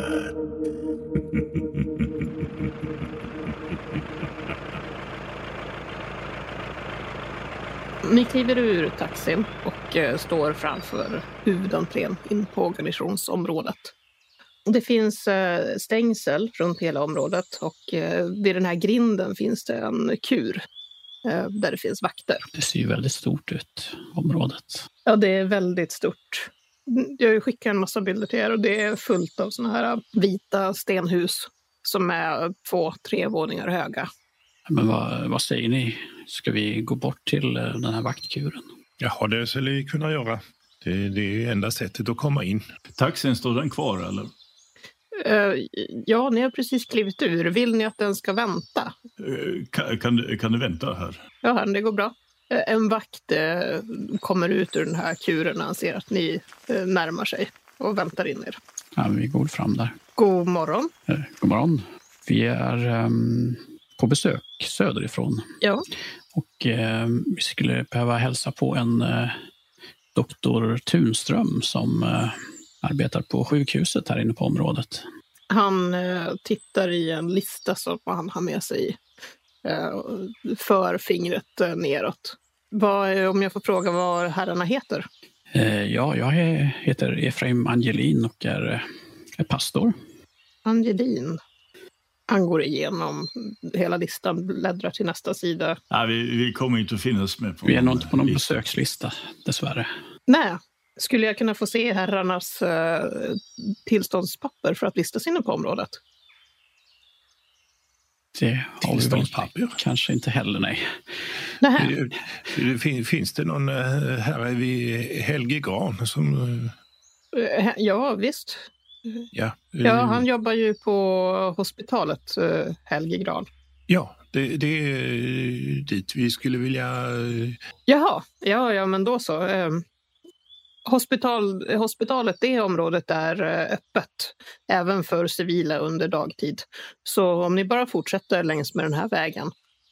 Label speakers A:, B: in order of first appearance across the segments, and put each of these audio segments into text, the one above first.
A: Skräckblandat.
B: Ni kliver ur taxin och eh, står framför huvudentrén in på garnisonsområdet. Det finns eh, stängsel runt hela området och eh, vid den här grinden finns det en kur eh, där det finns vakter.
C: Det ser ju väldigt stort ut, området.
B: Ja, det är väldigt stort. Jag skickar en massa bilder till er och det är fullt av såna här vita stenhus som är två, tre våningar höga.
C: Men vad, vad säger ni? Ska vi gå bort till eh, den här vaktkuren?
A: Jaha, det skulle vi kunna göra. Det, det är enda sättet att komma in.
D: Taxin, står den kvar eller?
B: Eh, Ja, ni har precis klivit ur. Vill ni att den ska vänta?
D: Eh, Kan, kan, du- kan du vänta här?
B: Ja, herren, det går bra. Eh, En vakt eh, kommer ut ur den här kuren när han ser att ni eh, närmar sig och väntar in er.
C: Ja, vi går fram där.
B: God morgon.
C: Eh, God morgon. Vi är ehm, på besök söderifrån
B: Ja.
C: och ehm, vi skulle behöva hälsa på en eh, doktor Tunström som eh, arbetar på sjukhuset här inne på området.
B: Han eh, tittar i en lista som han har med sig i. Eh, och för fingret eh, neråt. Vad, eh, om jag får fråga vad herrarna heter?
C: Eh, ja, jag he- heter Efraim Angelin och är, eh, är pastor.
B: Angelin. Han går igenom hela listan, bläddrar till nästa sida.
D: Nej, vi, vi kommer inte att finnas med på
C: Vi är nog inte på
A: Mm.
C: någon
D: lista.
C: besökslista dessvärre.
B: Nej, skulle jag kunna få se herrarnas eh, tillståndspapper för att vistas inne på området?
C: Det har vi väl
A: Tillståndspapper.
C: kanske inte heller, nej.
B: Nej,
A: Det- det Eh, fin- Finns det någon eh, herre vid Helge Gran som... eh,
B: eh, ja visst.
A: Ja,
B: Ja,
A: eh,
B: han jobbar ju på hospitalet, eh, Helge Gran.
A: ja det, det är eh, dit vi skulle vilja... eh,
B: Jaha, ja, ja men då så. Eh, hospital, eh, hospitalet, det området är eh, öppet även för civila under dagtid. Så om ni bara fortsätter längs med den här vägen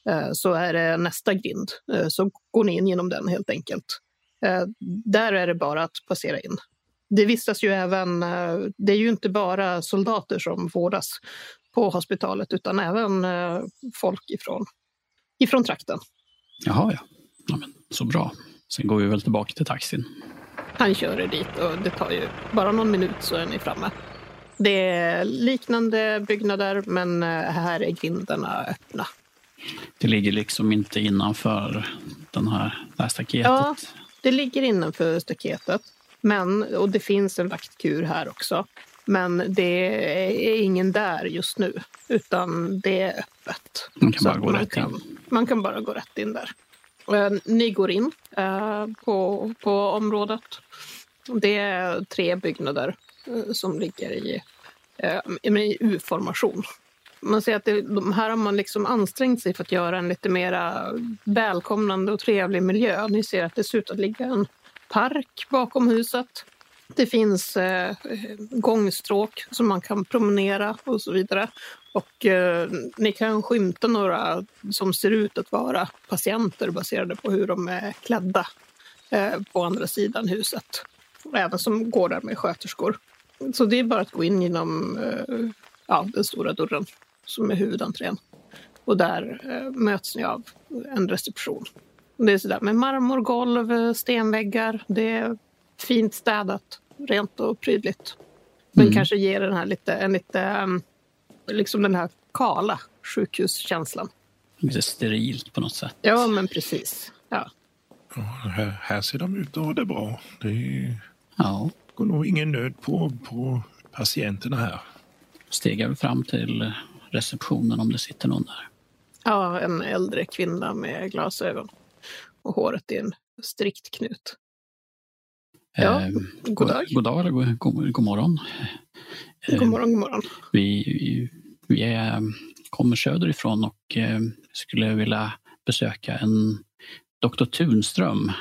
B: eh, så är det nästa grind. Eh, så går ni in genom den helt enkelt. Eh, där är det bara att passera in. Det vistas ju även, eh, det är ju inte bara soldater som vårdas på hospitalet utan även eh, folk ifrån, ifrån trakten.
C: Jaha, ja. ja men, så bra. Sen går vi väl tillbaka till taxin.
B: Han kör er dit och det tar ju bara någon minut så är ni framme. Det är liknande byggnader men eh, här är grindarna öppna.
C: Det ligger liksom inte innanför den här, det här staketet.
B: Ja. Det ligger innanför staketet men, och det finns en vaktkur här också. Men det är ingen där just nu utan det är öppet.
C: Man kan
B: Så
C: bara
B: att
C: gå rätt
B: kan,
C: in.
B: Man kan bara gå rätt in där. Eh, Ni går in eh, på, på området. Det är tre byggnader eh, som ligger i, eh, i- men i U-formation. Man ser att det, de här har man liksom ansträngt sig för att göra en lite mer välkomnande och trevlig miljö. Ni ser att det ser ut att ligga en park bakom huset. Det finns eh, gångstråk som man kan promenera och så vidare. Och eh, ni kan skymta några som ser ut att vara patienter baserade på hur de är klädda eh, på andra sidan huset. Och även som går där med sköterskor. Så det är bara att gå in genom eh, ja, den stora dörren som är huvudentrén. Och där eh, möts ni av en reception. Och Det är sådär med marmorgolv, eh, stenväggar. Det är fint städat, rent och prydligt. Men
C: Mm.
B: kanske ger den här lite, en lite, ehm, liksom den här kala sjukhuskänslan.
C: Lite sterilt på något sätt.
B: Ja, men precis. Ja.
A: ja, Här, här ser de ut att ha det bra. Det
C: Ja.
A: går nog ingen nöd på, på patienterna här.
C: Stegar vi fram till receptionen om det sitter någon där.
B: ja, en äldre kvinna med glasögon. Och håret är en strikt knut. Ja,
C: Eh,
B: God dag.
C: God dag eller god, god, god morgon. Eh,
B: God morgon, god morgon.
C: Vi, vi- vi är, kommer söderifrån och eh, skulle vilja eh, besöka en doktor Tunström.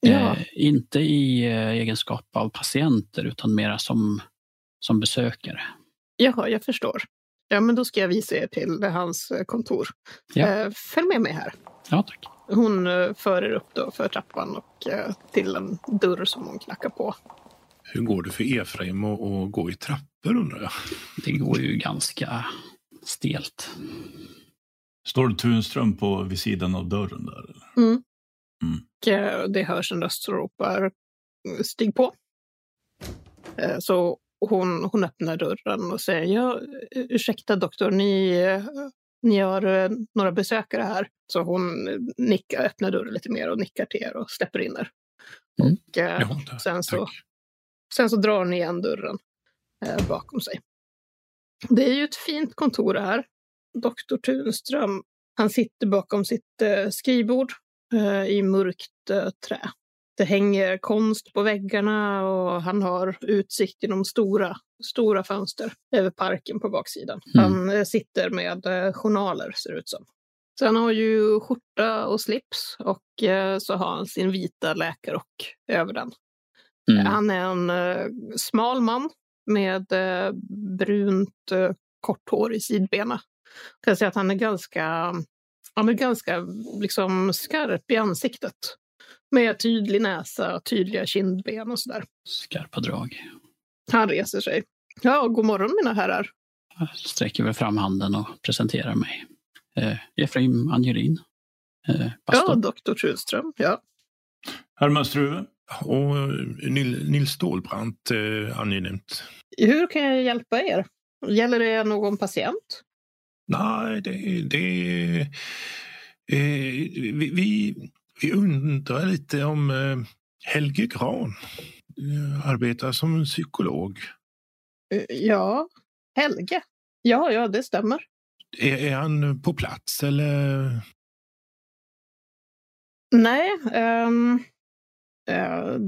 B: Ja.
C: Eh, inte i eh, egenskap av patienter utan mera som, som besökare.
B: Jaha, jag förstår. Ja, men då ska jag visa er till hans eh, kontor.
C: Ja.
B: Eh, Följ med mig här.
C: Ja, tack.
B: Hon eh, för er upp då för trappan och eh, till en dörr som hon knackar på.
A: Hur går det för Efraim att, att gå i trappor undrar jag?
C: Det går ju ganska stelt.
D: Står det Tunström på vid sidan av dörren där? Eller?
B: Och eh, det hörs en röst som ropar "Mm, stig på. Eh, Så hon, hon öppnar dörren och säger ja, ursäkta doktor, ni, eh, ni har eh, några besökare här. Så hon eh, nickar, öppnar dörren lite mer och nickar till er och släpper in er.
C: Mm.
B: Och, eh,
A: Ja, ta-
B: sen så-
A: tack.
B: Sen så drar hon igen dörren eh, bakom sig. Det är ju ett fint kontor det här. Doktor Tunström, han sitter bakom sitt eh, skrivbord eh, i mörkt eh, trä. Det hänger konst på väggarna och han har utsikt genom stora, stora fönster över parken på baksidan.
C: Mm.
B: Han eh, sitter med eh, journaler ser det ut som. Så han har ju skjorta och slips och eh, så har han sin vita läkarrock över den.
C: Mm.
B: Han är en eh, smal man med eh, brunt eh, kort hår i sidbena. Jag kan säga att han är ganska, han är ganska liksom, skarp i ansiktet. Med tydlig näsa, tydliga kindben och sådär.
C: Skarpa drag.
B: Han reser sig. Ja, god morgon mina herrar.
C: Jag sträcker väl fram handen och presenterar mig. Eh, Efraim Angelin. Eh,
B: Ja,
C: pastor.
B: doktor Tunström. Ja.
D: Herman Struve?
A: Och eh, Nil- Nils Stålbrant eh, angenämt.
B: Hur kan jag hjälpa er? Gäller det någon patient?
A: Nej, det... det eh, vi, vi, vi undrar lite om eh, Helge Gran. Eh, arbetar som psykolog.
B: Eh, Ja, Helge. Ja, ja, det stämmer.
A: Är, är han på plats eller?
B: Nej, um,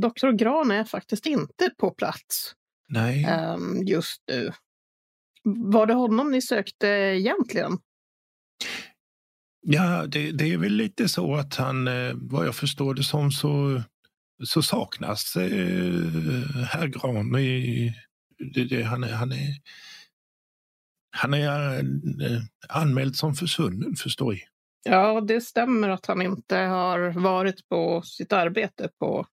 B: doktor Gran är faktiskt inte på plats
A: Nej.
B: ehm, just nu. Var det honom ni sökte egentligen?
A: Ja, det, det är väl lite så att han, eh, vad jag förstår det som, så, så saknas eh, herr Gran i... Det, det, han, är, han, är, han är eh, anmäld som försvunnen, förstår jag.
B: Ja, det stämmer att han inte har varit på sitt arbete på,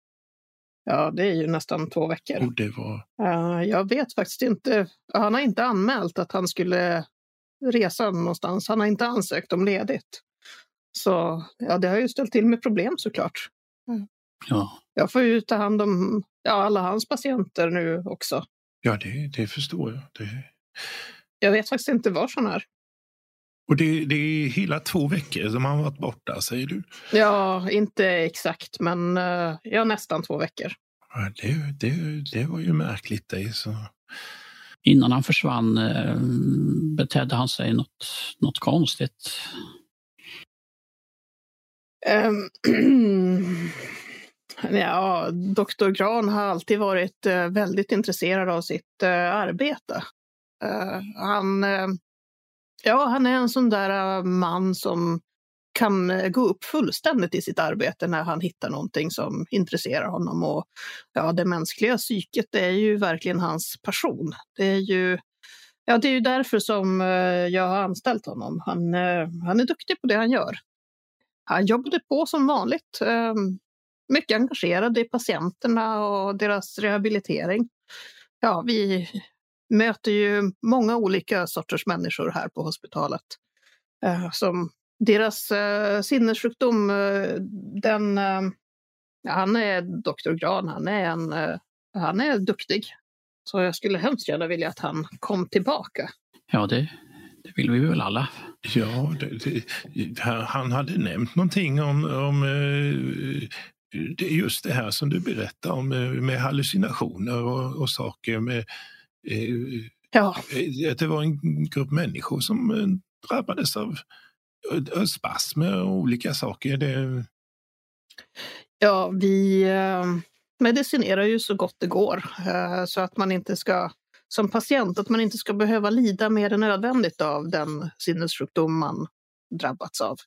B: ja, det är ju nästan två veckor.
A: Och det var...
B: Eh, jag vet faktiskt inte. Han har inte anmält att han skulle resa någonstans. Han har inte ansökt om ledigt. Så ja, det har ju ställt till med problem såklart.
C: Ja.
B: Jag får ju ta hand om ja, alla hans patienter nu också.
A: Ja, det, det förstår jag. Det,
B: Jag vet faktiskt inte var han är.
A: och det, det är hela två veckor som han varit borta, säger du?
B: Ja, inte exakt, men eh, ja, nästan två veckor.
A: Ja, det, det, det var ju märkligt. Det, så.
C: Innan han försvann eh, betedde han sig något, något konstigt.
B: Ehm, ja, doktor Gran har alltid varit eh, väldigt intresserad av sitt eh, arbete. Eh, han, eh, ja, han är en sån där eh, man som kan eh, gå upp fullständigt i sitt arbete när han hittar någonting som intresserar honom. Och, ja, det mänskliga psyket det är ju verkligen hans passion. Det är ju, ja, det är ju därför som eh, jag har anställt honom. Han, eh, han är duktig på det han gör. Han jobbade på som vanligt. eh, Mycket engagerad i patienterna och deras rehabilitering. Ja, vi möter ju många olika sorters människor här på hospitalet. eh, Som deras eh, sinnessjukdom, eh, den... eh, ja, Han är doktor Gran, han är, en, eh, han är duktig. Så jag skulle hemskt gärna vilja att han kom tillbaka.
C: Ja, det, det vill vi väl alla.
A: Ja, det, det, han- han hade nämnt någonting om, om eh, det är just det här som du berättar om eh, med hallucinationer och, och saker. Med, eh,
B: Ja,
A: att det var en grupp människor som eh, drabbades av eh, spasmer och olika saker. Det,
B: Ja, vi eh, medicinerar ju så gott det går eh, så att man inte ska som patient att man inte ska behöva lida mer än nödvändigt av den sinnessjukdom man drabbats av.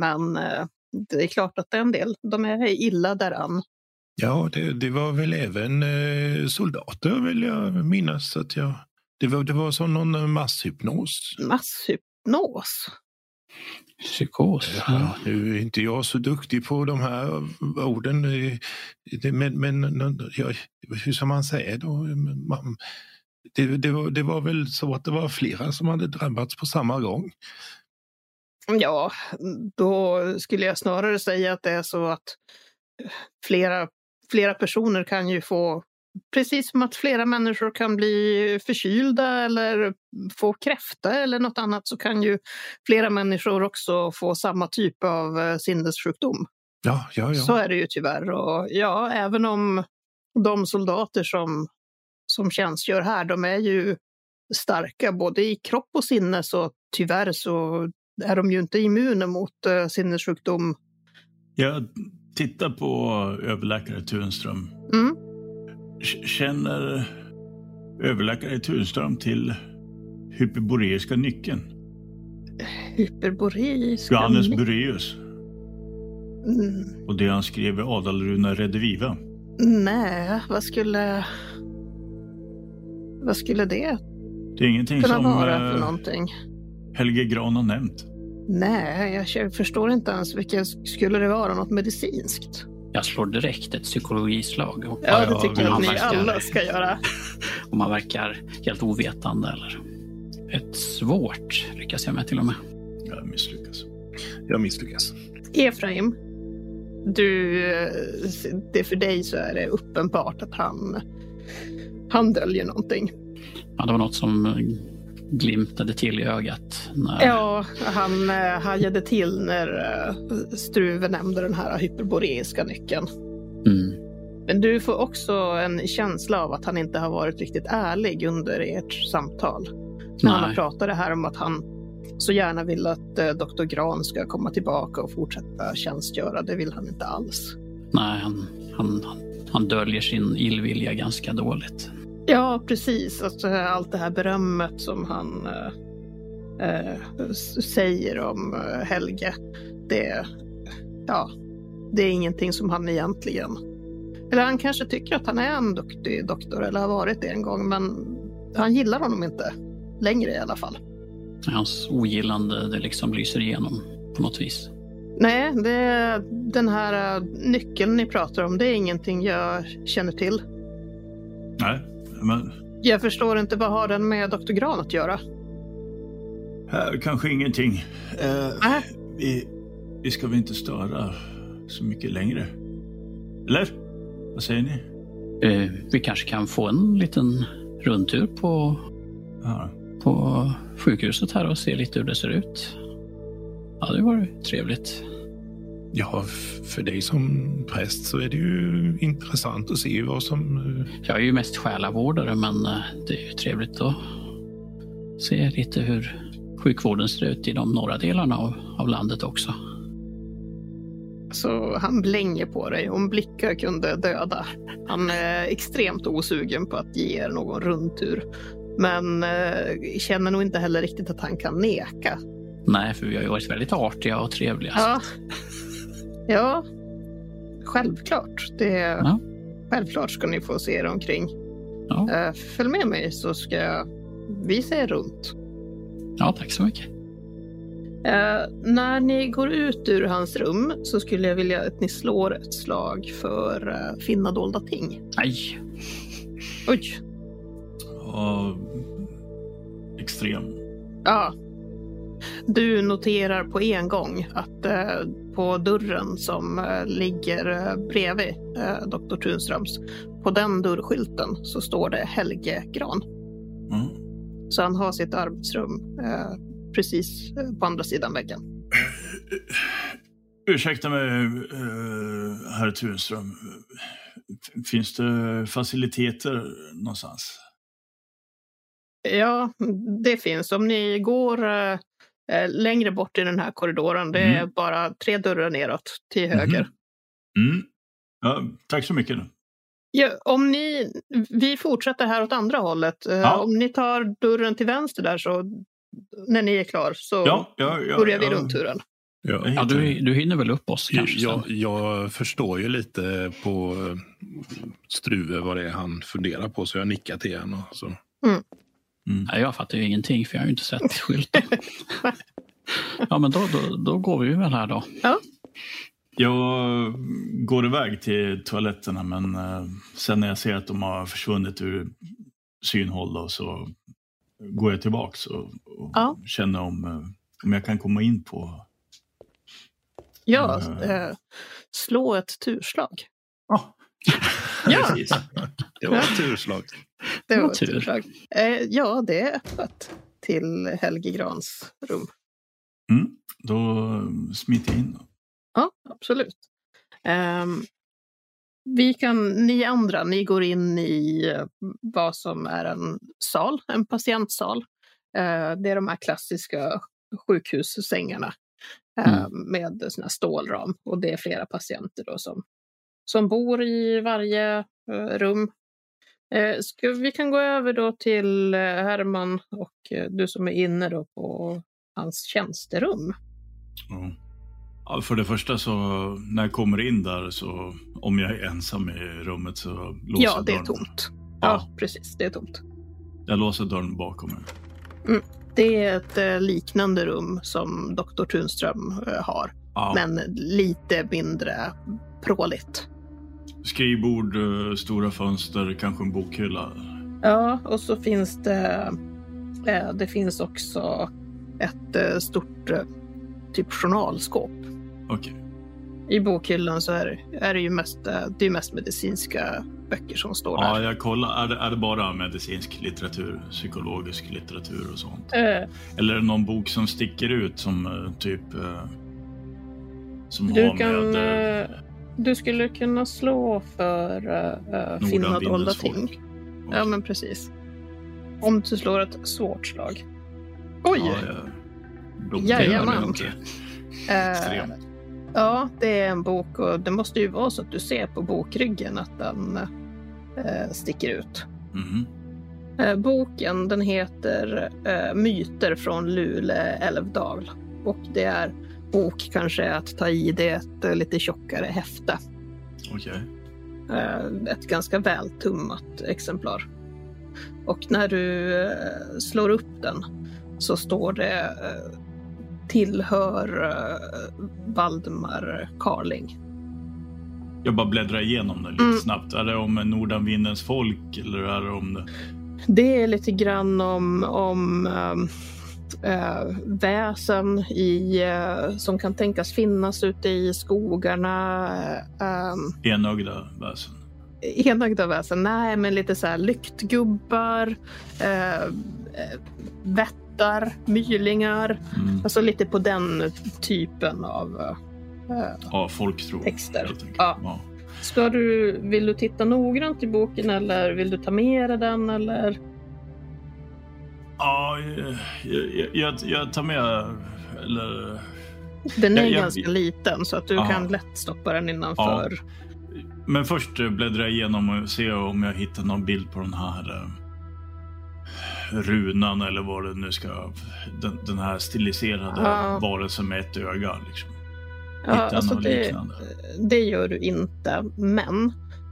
B: Men eh, det är klart att det är en del. De är illa däran.
A: Ja, det, det var väl även eh, soldater vill jag minnas att jag... Det var, det var som någon masshypnos.
B: Masshypnos.
C: Psykos.
A: Ja, nu är inte jag så duktig på de här orden. eh, det- Men, men ja, hur som man säger då. Man, det, det, var, det var väl så att det var flera som hade drabbats på samma gång.
B: Ja, då skulle jag snarare säga att det är så att eh, flera, flera personer kan ju få Precis som att flera människor kan bli förkylda eller få kräfta eller något annat så kan ju flera människor också få samma typ av eh, sinnessjukdom.
A: Ja, ja, ja.
B: Så är det ju tyvärr. Och ja, även om de soldater som, som tjänstgör här, de är ju starka både i kropp och sinne, så tyvärr så är de ju inte immuna mot eh, sinnessjukdom.
D: Jag tittar på överläkare Tunström.
B: Mm.
D: K- Känner överläkare Tunström till hyperboreiska nyckeln?
B: Hyperboreiska...
D: Johannes Bureus
B: Mm,
D: och det han skrev i Adalruna Rediviva.
B: Nej, vad skulle... Vad skulle det
D: Det är ingenting
B: kunna
D: som
B: vara för
D: eh,
B: någonting?
D: Helge Gran har nämnt.
B: Nej, jag k- förstår inte ens vilket... Skulle det vara något medicinskt?
C: Jag slår direkt ett psykologislag. Och
B: Ja,
A: ja,
B: det tycker
A: vi
B: jag att ni
C: anmärker.
B: alla ska göra.
C: om man verkar helt ovetande eller ett svårt lyckas jag med till och med.
D: Jag misslyckas.
A: Jag misslyckas.
B: Efraim, du, eh, det för dig så är det uppenbart att han, han döljer någonting.
C: Ja, det var något som glimtade till i ögat. När,
B: Ja, han eh, hajade till när eh, Struve nämnde den här hyperboreiska nyckeln.
C: Mm.
B: Men du får också en känsla av att han inte har varit riktigt ärlig under ert samtal. När han
C: Nej.
B: pratade här om att han så gärna vill att eh, Dr. Gran ska komma tillbaka och fortsätta tjänstgöra. Det vill han inte alls.
C: Nej, han, han, han döljer sin illvilja ganska dåligt.
B: Ja, precis. Alltså, allt det här berömmet som han eh, eh, s- säger om eh, Helge. Det, ja, det är ingenting som han egentligen... Eller han kanske tycker att han är en duktig doktor, eller har varit det en gång, men han gillar honom inte. Längre i alla fall.
C: Hans ogillande, det liksom lyser igenom på något vis.
B: Nej, det, den här eh, nyckeln ni pratar om, det är ingenting jag känner till.
D: Nej, men
B: Jag förstår inte, vad har den med Dr. Gran att göra?
D: här kanske ingenting. Eh,
B: Nej.
D: vi, vi ska väl inte störa så mycket längre? Eller? Vad säger ni?
C: Eh, vi kanske kan få en liten rundtur på,
D: Ja.
C: på sjukhuset här och se lite hur det ser ut. Ja, det var trevligt.
A: Ja, f- för dig som präst så är det ju intressant att se vad som... eh,
C: Jag är ju mest själavårdare, men eh, det är ju trevligt att se lite hur sjukvården ser ut i de norra delarna av, av landet också.
B: Så han blänger på dig. Om blickar kunde döda. Han är extremt osugen på att ge er någon rundtur. Men eh, känner nog inte heller riktigt att han kan neka.
C: Nej, för vi har ju varit väldigt artiga och trevliga.
B: Ja. ja. Självklart. Det
C: Ja.
B: Självklart ska ni få se er omkring.
C: Ja.
B: Eh, följ med mig så ska jag visa er runt.
C: ja, tack så mycket.
B: Eh, när ni går ut ur hans rum så skulle jag vilja att ni slår ett slag för eh, finna dolda ting.
C: Nej,
B: Oj!
D: Ja, extrem.
B: Ja. Du noterar på en gång att eh, på dörren som eh, ligger eh, bredvid eh, Dr. Tunströms, på den dörrskylten så står det Helge Gran.
D: Mm.
B: Så han har sitt arbetsrum eh, precis eh, på andra sidan väggen.
D: Ursäkta mig, eh, herr Tunström. F- Finns det faciliteter någonstans?
B: Ja, det finns. Om ni går eh, eh, längre bort i den här korridoren, det är
D: Mm.
B: bara tre dörrar neråt till höger.
D: Mm. Ja, tack så mycket.
B: Ja, om ni, vi fortsätter här åt andra hållet. Eh,
D: Ja.
B: Om ni tar dörren till vänster där så när ni är klar så
D: Ja, ja, ja,
B: börjar vi
D: ja.
B: rundturen.
A: Ja.
C: Ja, du, du hinner väl upp oss kanske? sen.
A: Jag, jag förstår ju lite på eh, Struve vad det är han funderar på så jag nickar till honom. Så.
C: Nej, jag fattar ju ingenting för jag har ju inte sett skylten. ja, men då, då, då går vi väl här då.
D: Jag går iväg till toaletterna men eh, sen när jag ser att de har försvunnit ur synhåll då, så går jag tillbaks och, och
B: Ja.
D: känner om, eh, om jag kan komma in på...
B: Ja,
D: Mm.
B: eh, slå ett turslag.
D: Ah,
B: Ja,
D: precis.
A: Det var ett turslag.
B: det var
C: Vad
B: ett
C: tur.
B: turslag. Eh, ja, det är öppet till Helge Grans rum.
D: Mm, då eh, smiter jag in. Då.
B: Ja, absolut. Ehm, vi kan, ni andra, ni går in i eh, vad som är en sal, en patientsal. Eh, det är de här klassiska sjukhussängarna eh,
D: Mm.
B: med sån här stålram och det är flera patienter då som, som bor i varje eh, rum. Eh, ska, vi kan gå över då till eh, Herman och eh, du som är inne då på hans tjänsterum.
D: Ja. Mm. Ja, för det första så när jag kommer in där så om jag är ensam i rummet så låser
B: ja,
D: jag
B: det är
D: dörren.
B: tomt.
D: Ja.
B: Ja, precis. Det är tomt.
D: Jag låser dörren bakom mig.
B: Det är ett eh, liknande rum som Dr. Tunström eh, har,
D: Ja.
B: men lite mindre pråligt.
D: Skrivbord, eh, stora fönster, kanske en bokhylla.
B: Ja, och så finns det... eh, Det finns också ett eh, stort eh, typ journalskåp.
D: Okej.
B: I bokhyllan så är, är det ju mest, eh, det är mest medicinska böcker som står
D: Ja,
B: där.
D: jag kollar. Är det, är det bara medicinsk litteratur, psykologisk litteratur och sånt?
B: Eh,
D: Eller är det någon bok som sticker ut som eh, typ... eh, Som
B: Du
D: har
B: kan,
D: med... eh,
B: eh, Du skulle kunna slå för uh, finna
D: Nordanvindens
B: dolda
D: folk.
B: ting. Ja, men precis. Om du slår ett svårt slag. Oj!
D: Ja, jag- de- det
B: Jajamän.
D: gör jag inte.
B: eh,
D: Extremt.
B: ja, det är en bok och det måste ju vara så att du ser på bokryggen att den eh, sticker ut.
D: Mhm.
B: Eh, boken den heter eh, Myter från Luleå älvdal och det är bok kanske att ta i det är ett eh, lite tjockare häfte.
D: Okej.
B: Eh, ett ganska vältummat exemplar. Och när du eh, slår upp den så står det eh, tillhör eh, Valdemar Carling.
D: Jag bara bläddrar igenom den lite
B: Mm.
D: snabbt. Är det om Nordanvindens folk eller är det om... Det...
B: Det är lite grann om, om ehm, eh, väsen i, eh, som kan tänkas finnas ute i skogarna. ehm,
D: Enögda väsen.
B: enögda väsen. Nej, men lite så här lyktgubbar, eh, eh, vättar, mylingar.
D: Mm.
B: Alltså lite på den typen av... Eh,
D: Ja, folktro.
B: Texter.
D: helt enkelt.
B: Ja.
D: Ja.
B: ska du, vill du titta noggrant i boken eller vill du ta med dig den? Eller?
D: Ja, jag, jag, jag, jag tar med... Eller...
B: Den är
D: Jag- jag-
B: ganska liten så att du
D: Ja.
B: kan lätt stoppa den innanför.
D: Men först eh, bläddrar jag igenom och ser om jag hittar någon bild på den här eh, runan eller vad det nu ska... Den, den här stiliserade
B: Ja.
D: varelsen med ett öga. Liksom.
B: Ja,
D: Hitta
B: alltså
D: något
B: det-
D: liknande.
B: Det gör du inte, men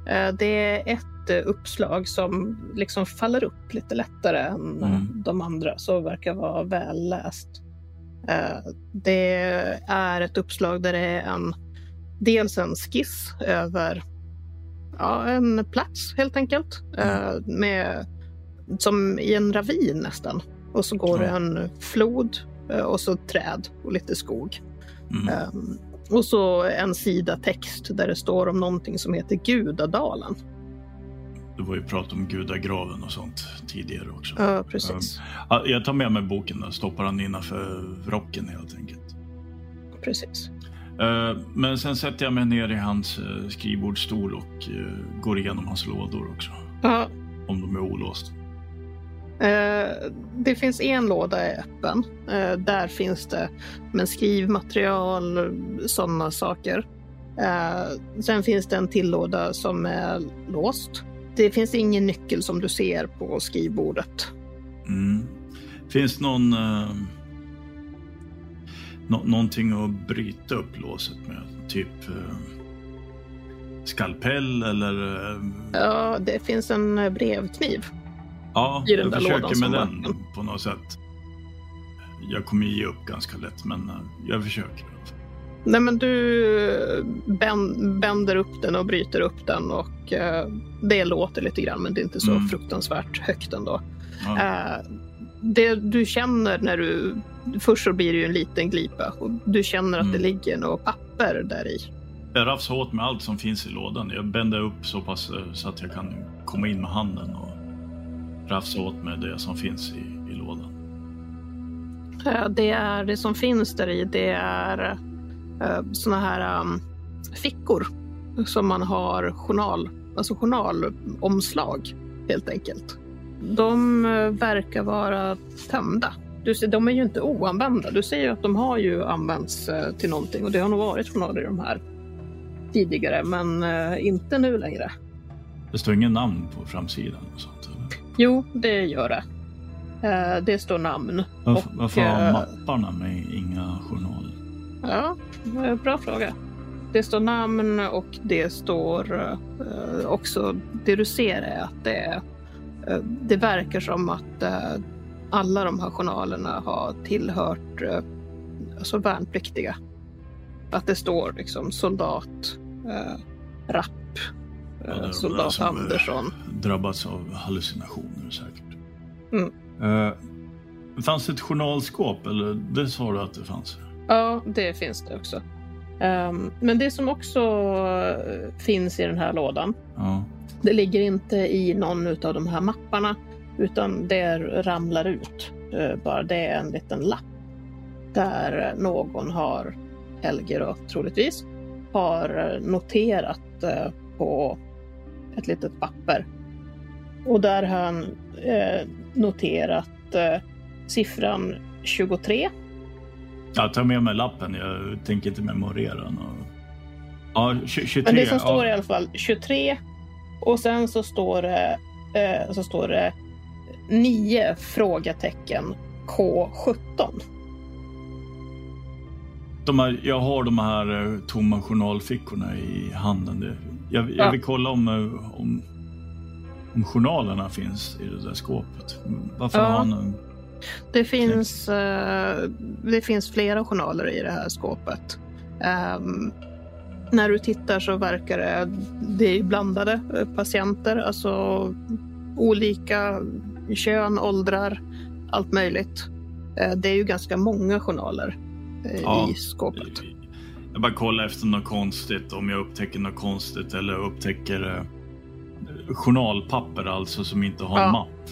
B: eh, det är ett eh, uppslag som liksom faller upp lite lättare än eh,
D: Mm.
B: de andra, så verkar vara välläst. Eh, Det är ett uppslag där det är en, dels en skiss över ja, en plats helt enkelt, eh,
D: Mm.
B: med, som i en ravin nästan. Och så går det
D: Ja.
B: en flod eh, och så träd och lite skog.
D: Mm.
B: Ehm, och så en sida text där det står om någonting som heter Gudadalen.
D: Det var ju prat om gudagraven och sånt tidigare också.
B: Ja, precis.
D: Ja, Jag tar med mig boken och stoppar den innanför rocken helt enkelt.
B: precis.
D: Eh, Men sen sätter jag mig ner i hans eh, skrivbordsstol och eh, går igenom hans lådor också.
B: Ja,
D: Om de är olåsta.
B: eh, det finns en låda är öppen. Eh, där finns det men skrivmaterial, sådana saker. Eh, sen finns det en till låda som är låst. Det finns ingen nyckel som du ser på skrivbordet.
D: Mm. Finns någon... eh, nå- någonting att bryta upp låset med. Typ eh, skalpell eller... eh,
B: Ja, det finns en eh, brevkniv.
D: ja,
B: i den
D: jag
B: där lådan
D: försöker
B: som
D: med
B: var-
D: den på något sätt. Jag kommer ge upp ganska lätt, men eh, jag försöker.
B: Nej, men du bän- bänder upp den och bryter upp den och eh, det låter lite grann, men det är inte så
D: Mm.
B: fruktansvärt högt ändå.
D: Ja.
B: Eh, det du känner när du... Först så blir det ju en liten glipa och du känner att
D: Mm.
B: det ligger något papper där i.
D: Jag rafsar åt med allt som finns i lådan. Jag bänder upp så pass eh, så att jag kan komma in med handen och rafsa åt med det som finns i, i lådan.
B: Eh, Det, är, det som finns där i det är eh, såna här um, fickor som man har journal, alltså journalomslag helt enkelt. De eh, verkar vara tömda. Du ser, de är ju inte oanvända. Du ser ju att de har ju använts eh, till någonting och det har nog varit journaler i de här tidigare, men eh, inte nu längre.
D: Det står ingen namn på framsidan och sånt. eller?
B: Jo, det gör det. Eh, Det står namn.
D: Varför,
B: Och,
D: varför har
B: eh,
D: mapparna med inga journaler?
B: Ja, eh, bra fråga. Det står namn och det står eh, också det du ser är att det, är, eh, det verkar som att eh, alla de här journalerna har tillhört eh, alltså värnpliktiga. Att det står liksom soldat eh, Rapp,
D: Ja, det är de
B: eh,
D: där
B: soldat
D: som, eh,
B: Andersson.
D: Drabbats av hallucinationer säkert.
B: Mm.
D: Eh, fanns det ett journalskåp? Eller det sa du att det fanns?
B: Ja, det finns det också. Ehm, men det som också eh, finns i den här lådan
D: Ja.
B: Det ligger inte i någon av de här mapparna utan det ramlar ut. Eh, Bara det är en liten lapp där någon har, Helger då, troligtvis, har noterat eh, på ett litet papper. Och där har han eh, noterat eh, siffran 23.
D: Jag tar med mig lappen. Jag tänker inte memorera. något. Ja, 23.
B: Men det som står
D: ja.
B: i alla fall 23 och sen så står det, eh, så står det 9 frågetecken K17.
D: De här, jag har de här eh, tomma journalfickorna i handen. Det- Jag, jag
B: Ja.
D: vill kolla om, eh, om, om journalerna finns i det där skåpet. Varför
B: Ja.
D: har han... en-
B: Det finns, eh, det finns flera journaler i det här skåpet. Ehm, när du tittar så verkar det, det är blandade eh, patienter, alltså olika kön, åldrar, allt möjligt. Eh, det är ju ganska många journaler eh,
D: Ja.
B: i skåpet.
D: Jag bara kollar efter något konstigt, om jag upptäcker något konstigt eller upptäcker eh, journalpapper alltså som inte har
B: Ja.
D: en mapp.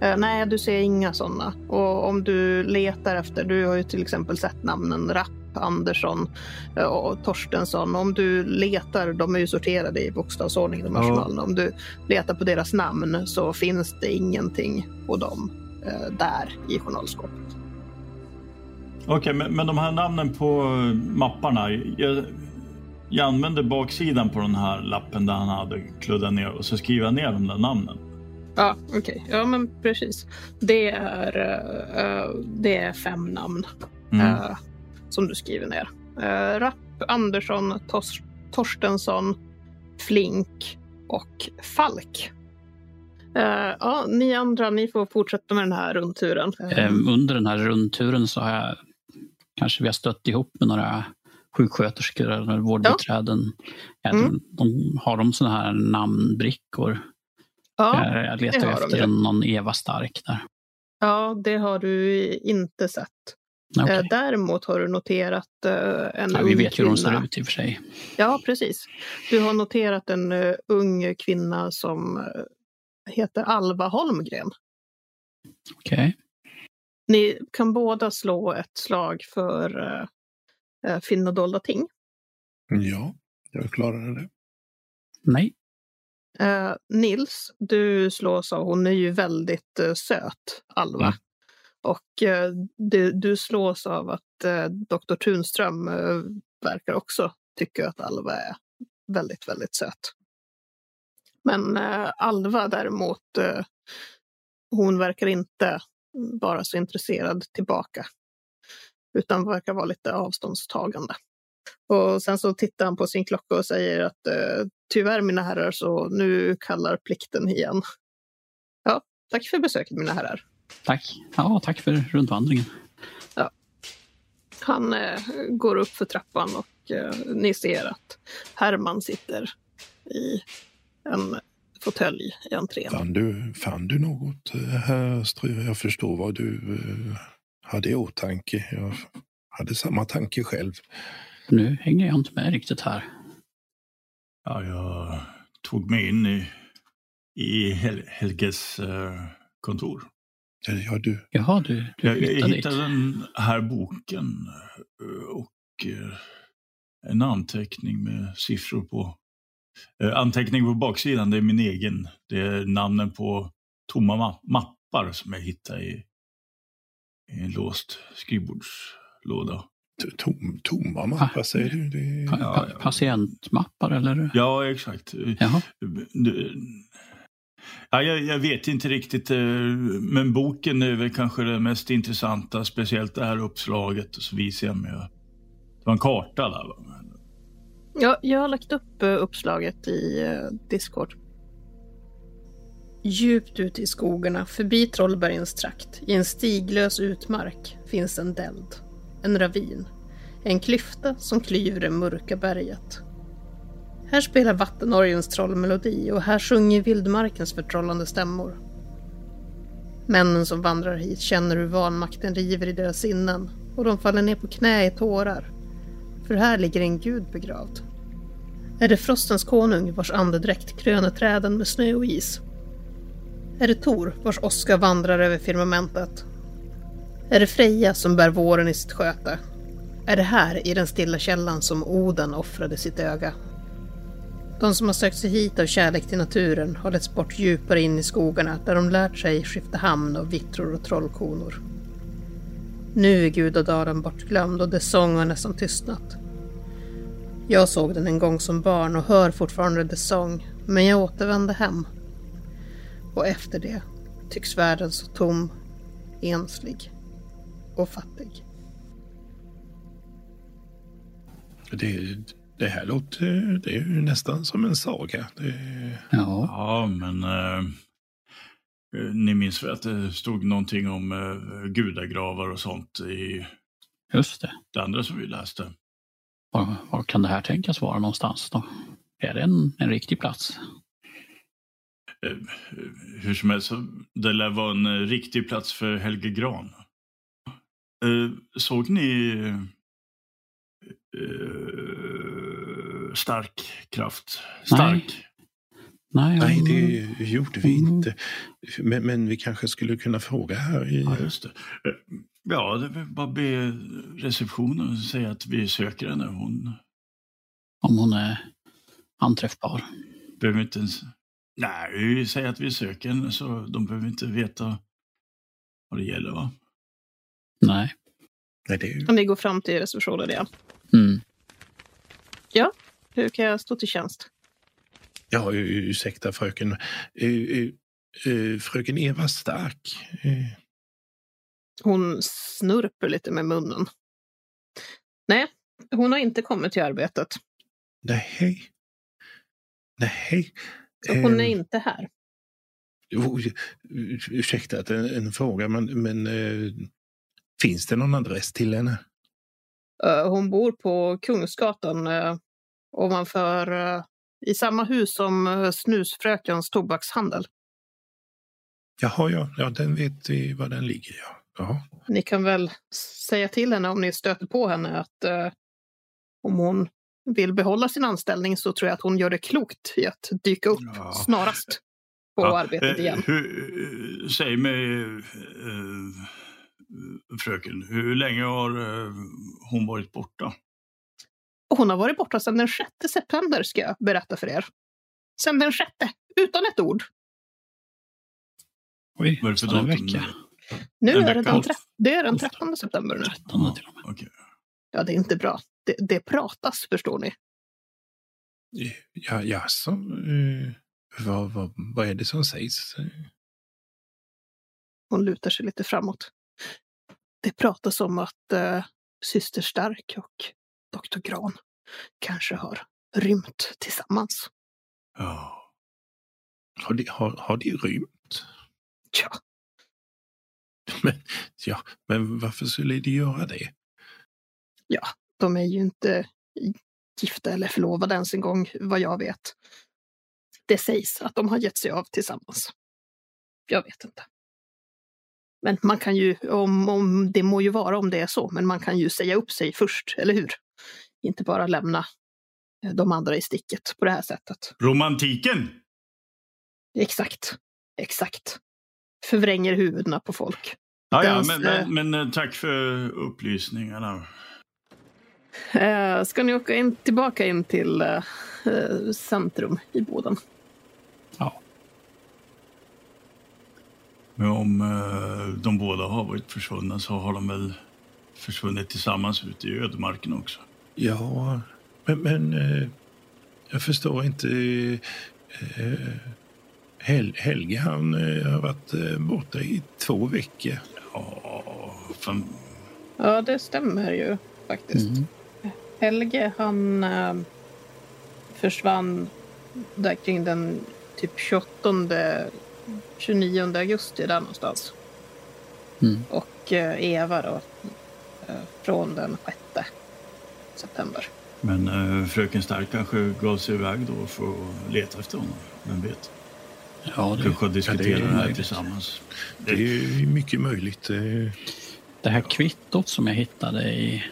B: Eh, nej, du ser inga sådana. Och om du letar efter, du har ju till exempel sett namnen Rapp, Andersson eh, och Torstensson. Om du letar, de är ju sorterade i bokstavsordning de här
D: Ja.
B: journalerna. Om du letar på deras namn så finns det ingenting på dem eh, där i journalskåpet.
D: Okej, men, men de här namnen på eh, mapparna. Jag, jag använder baksidan på den här lappen där han hade kluddat ner och så skriver jag ner de där namnen.
B: Ja, okej. Ja, men precis. Det är, eh, det är fem namn.
D: Mm.
B: eh, som du skriver ner. Eh, Rapp, Andersson, Tos- Torstensson, Flink och Falk. Eh, ja, ni andra, ni får fortsätta med den här rundturen. Eh,
C: Ehm, Under den här rundturen så har jag kanske vi har stött ihop med några sjuksköterskor eller vårdbiträden. Även,
B: Mm.
C: de, har de sådana här namnbrickor?
B: ja,
C: jag jag
B: det
C: letar
B: har de
C: efter
B: ju. Äh,
C: en, någon Eva Stark där.
B: ja, det har du inte sett.
C: Nej, okej.
B: Eh, däremot har du noterat eh, en
C: ja,
B: ung
C: vi vet ju hur
B: kvinna.
C: de ser ut i och för sig.
B: Ja, precis. Du har noterat en eh, ung kvinna som eh, heter Alva Holmgren.
C: Okej.
B: Ni kan båda slå ett slag för uh, finna dolda ting.
A: Ja, jag klarade det.
C: Nej.
B: Eh, Nils, du slås av, hon är ju väldigt eh, söt, Alva.
D: Mm.
B: Och eh, du, du slås av att eh, Dr. Tunström eh, verkar också tycka att Alva är väldigt, väldigt söt. Men eh, Alva däremot, eh, hon verkar inte vara så intresserad tillbaka. utan verkar vara lite avståndstagande. Och sen så tittar han på sin klocka och säger att eh, tyvärr mina herrar, så nu kallar plikten igen. Ja, tack för besöket mina herrar.
C: Tack. Ja, tack för rundvandringen.
B: Han eh, går upp för trappan och eh, ni ser att Herman sitter i en fåtölj i entrén.
A: Fann du, fann du något, eh, herr Strö? Jag förstår vad du eh, hade i åtanke. Jag hade samma tanke själv.
C: Nu hänger jag inte med riktigt här.
D: Ja, jag tog mig in i, i Hel- Helges eh, kontor.
A: Eh, Ja, du.
C: Jaha, du, du
D: Jag, jag
C: flyttade dit.
D: hittade den här boken eh, och eh, en anteckning med siffror på. Eh, Anteckning på baksidan, det är min egen. Det är namnen på tomma ma- mappar som jag hittade i, i en låst skrivbordslåda.
A: T- Tom, tomma mappar, säger du? Det,
C: Pa- pa-
D: ja.
C: Patientmappar eller?
D: Ja, exakt. Eh,
C: Jaha.
D: Du- Ja, jag, jag vet inte riktigt, eh, men boken är väl kanske det mest intressanta, speciellt det här uppslaget och så visar jag mig. Det var en karta där. Va? Men-
B: Ja, jag har lagt upp eh, uppslaget i eh, Discord. Djupt ute i skogarna, förbi Trollbergens trakt, i en stiglös utmark, finns en deld. En ravin. En klyfta som klyver det mörka berget. Här spelar vattenorgens trollmelodi och här sjunger vildmarkens förtrollande stämmor. Männen som vandrar hit känner hur vanmakten river i deras sinnen och de faller ner på knä i tårar för här ligger en gud begravd. Är det frostens konung vars andedräkt kröner träden med snö och is? Är det Tor vars åska vandrar över firmamentet? Är det Freja som bär våren i sitt sköte? Är det här i den stilla källan som Oden offrade sitt öga? De som har sökt sig hit av kärlek till naturen har letts bort djupare in i skogarna där de lärt sig skifta hamn av vittror och trollkonor. Nu är gudadalen bortglömd och dess sång har nästan tystnat. Jag såg den en gång som barn och hör fortfarande dess sång, men jag återvände hem. Och efter det tycks världen så tom, enslig och fattig.
A: det, det här låter det är ju nästan som en saga. Det,
C: Ja.
D: Ja, men eh, eh, ni minns väl att det stod någonting om eh, gudagravar och sånt i
C: Just det.
D: det andra som vi läste.
C: Var, var kan det här tänkas vara någonstans då? Är det en, en riktig plats?
D: Eh, eh, hur som helst, så det lär vara en eh, riktig plats för Helge Gran. Eh, såg ni eh, Stark kraft? Stark?
C: Nej, jag-
A: nej, det gjorde vi
C: Mm.
A: inte. Men, men vi kanske skulle kunna fråga här. I,
D: Ja, just det. Eh, Ja, det är väl bara be receptionen säga att vi söker henne. Hon
C: om hon är anträffbar.
D: behöver inte ens... Nej, säg att vi söker henne så de behöver inte veta vad det gäller va?
C: Nej.
A: nej, det är ju
B: Om vi går fram till receptionen igen.
C: Mm.
B: Hur kan jag stå till tjänst?
A: Ja, u- ursäkta fröken. U- u- u- Fröken Eva Stark. Eh,
B: Hon snurper lite med munnen. Nej, hon har inte kommit till arbetet.
A: Nej. Nej.
B: Så hon är
A: Eh,
B: inte här.
A: o- ur- Ursäkta att det är en fråga, men, men eh, finns det någon adress till henne?
B: Eh, Hon bor på Kungsgatan eh, ovanför eh, i samma hus som eh, Snusfrökens tobakshandel.
A: Jaha, ja, ja den vet vi var den ligger. Ja. Jaha.
B: Ni kan väl s- säga till henne om ni stöter på henne att eh, om hon vill behålla sin anställning så tror jag att hon gör det klokt i att dyka upp
D: Ja.
B: snarast på
D: Ja,
B: arbetet
D: eh,
B: igen.
D: Hur, eh, säg mig, eh, fröken, hur länge har eh, hon varit borta?
B: Och hon har varit borta sedan den 6 september ska jag berätta för er. Sedan den 6, utan ett ord.
C: Oj,
D: Vad är det för
C: nästan en
D: datum
C: vecka.
B: Nu
D: En
B: är det
D: vecka.
B: den, tre- det är den 13 september nu.
C: 13 till och med.
D: Okej.
B: Ja, det är inte bra. Det, det pratas, förstår ni.
A: Eh, Ja, jaså? Eh, vad, vad, vad är det som sägs? Eh,
B: Hon lutar sig lite framåt. Det pratas om att eh, syster Stark och doktor Gran kanske har rymt tillsammans.
D: Ja.
A: Har de, har, har de rymt?
B: Tja,
A: Ja, men varför skulle de göra det?
B: de är ju inte gifta eller förlovade ens en gång, vad jag vet. Det sägs att de har gett sig av tillsammans. Jag vet inte. Men man kan ju, om, om, det må ju vara om det är så, men man kan ju säga upp sig först, eller hur? Inte bara lämna eh, de andra i sticket på det här sättet.
D: Romantiken!
B: Exakt. Exakt. Förvränger huvudena på folk.
D: Ja, ja,
B: Den-
D: men, men, men eh, tack för upplysningarna.
B: Eh, ska ni åka in, tillbaka in till eh, eh, centrum i Boden?
C: Ja.
D: Men om eh, de båda har varit försvunna så har de väl försvunnit tillsammans ute i ödemarken också.
A: Ja, men, men eh, jag förstår inte. Eh, Hel Helge han eh, har varit eh, borta i två veckor.
D: Ja, fan.
B: Ja, det stämmer ju faktiskt.
C: Mm.
B: Helge, han eh, försvann där kring den typ 28, 29 augusti där någonstans.
C: Mm.
B: Och eh, Eva då eh, från den 6 september.
D: Men eh, fröken Stark kanske gav sig iväg då för att leta efter honom. Vem vet?
C: Ja, det,
D: Kanske diskutera det, här
A: möjligt.
D: tillsammans.
A: Det är ju mycket möjligt. eh,
C: det här kvittot som jag hittade i, i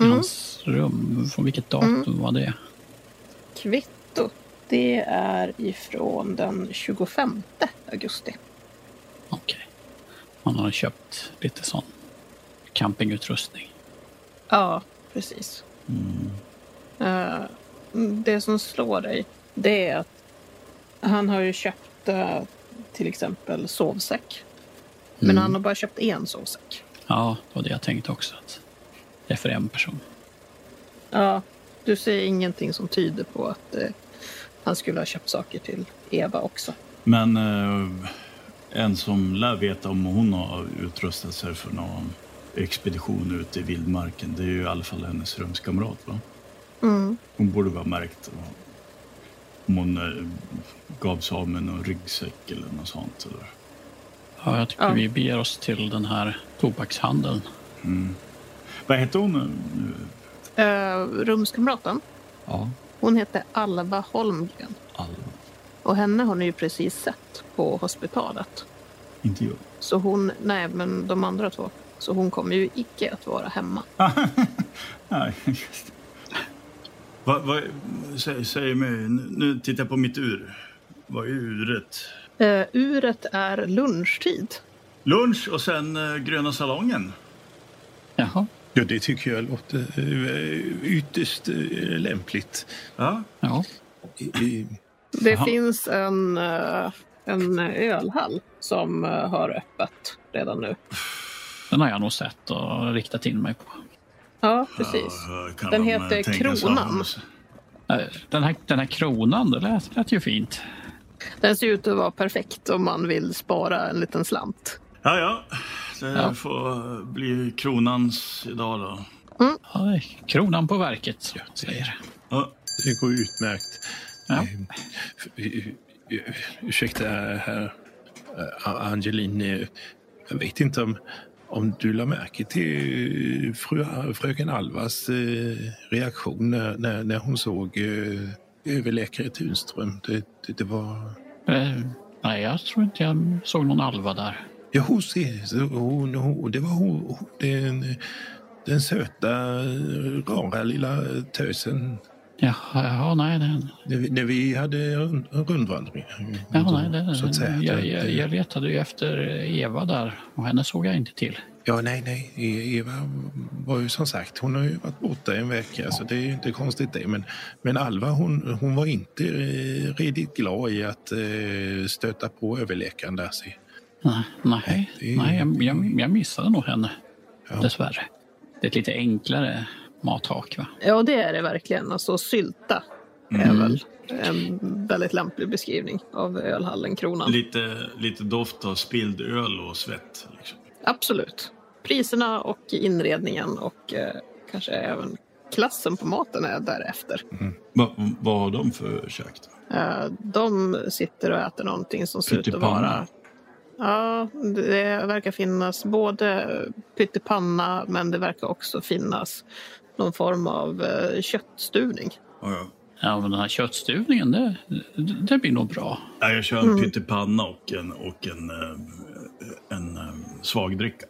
B: Mm.
C: hans rum, från vilket datum var det?
B: Kvitto, det är ifrån den 25 augusti.
C: Okej. Han har köpt lite sån campingutrustning.
B: Ja, precis.
D: Mm.
B: Eh, det som slår dig, det är att han har ju köpt eh, till exempel sovsäck. Men
C: Mm.
B: han har bara köpt en sovsäck.
C: Ja, det var det jag tänkte också. Att det är för en person.
B: Ja, du ser ingenting som tyder på att eh, han skulle ha köpt saker till Eva också.
D: Men eh, en som lär veta om hon har utrustat sig för någon expedition ute i vildmarken, det är ju i alla fall hennes rumskamrat. Va? Hon borde vara märkt va? om hon eh, gav sig av med någon ryggsäck eller något sånt. Eller?
C: Ja, jag tycker
B: Ja.
C: vi beger oss till den här tobakshandeln.
D: Mm. Vad hette hon nu?
B: Eh, rumskamraten,
D: Ja,
B: hon heter Alva Holmgren.
D: Alva.
B: Och henne har ni ju precis sett på hospitalet.
D: Inte jag.
B: Så hon, nej men de andra två. Så hon kommer ju icke att vara hemma.
D: Nej, just det. Vad, vad, säg, säg mig, nu, nu tittar jag på mitt ur. Vad är uret?
B: Eh, uret är lunchtid.
D: Lunch och sen eh, gröna salongen.
C: Jaha.
A: Ja, det tycker jag låter eh, ytterst eh, lämpligt.
D: Ja,
C: Ja.
A: I- i-
B: Det
D: Jaha.
B: finns en, eh, en ölhall som eh, har öppet redan nu.
C: Den har jag nog sett och riktat in mig på.
B: Ja, precis.
D: Ja, kan
B: Den
D: de, eh,
B: heter
D: tänka sig
B: Kronan.
D: annars?
C: Eh, Den här, den här kronan, det lät, lät ju fint.
B: Den ser ut att vara perfekt om man vill spara en liten slant.
D: Ja, ja. Det
C: Ja.
D: får bli Kronans idag då.
C: Ja, det är kronan på verket, som man säger.
D: Ja.
A: Det går utmärkt.
C: Ja.
A: Eh, f- eh, eh, Ursäkta, herr eh, Angelin. eh, Jag vet inte om, om du la märke till eh, fru, fröken Alvas eh, reaktion när, när, när hon såg eh, överläkare Tunström. Det, det, det var...
C: Eh, Nej, jag tror inte jag såg någon Alva där.
A: Ja, hon ser, så hon, hon, det var hon, hon- den, den söta, eh, rara lilla tösen
C: Jaha, ja, nej, den,
A: När vi, när vi hade rund, rundvandring.
C: ja, nej den,
A: så att säga.
C: jag,
A: Det-
C: jag,
A: det-
C: jag letade ju efter Eva där och henne såg jag inte till.
A: Ja, nej, nej. E- Eva var ju som sagt, hon har ju varit borta en vecka så det är ju inte konstigt det. Men, men Alva, hon, hon var inte eh, riktigt glad i att eh, stöta på överläkaren där. Så,
C: Nej, nej,
A: det är-
C: nej jag, jag, jag missade nog henne,
A: ja.
C: dessvärre. Det är ett lite enklare mathak, va?
B: Ja, det är det verkligen. Alltså sylta är väl en väldigt lämplig beskrivning av ölhallen Kronan.
D: Lite, lite doft av spilld öl och svett. Liksom.
B: Absolut. priserna och inredningen och eh, kanske även klassen på maten är därefter.
D: Va, vad har de för käk? då?
B: Eh, de sitter och äter någonting som ser ut att
D: Pyttipanna.
B: vara... Ja, det verkar finnas både pyttipanna men det verkar också finnas någon form av eh, köttstuvning.
D: Ja, ja.
C: Ja, men den här köttstuvningen, det, det, det blir nog bra.
D: Nej, jag kör en
B: Mm.
D: pyttipanna och en, och en, eh, en eh, svagdricka.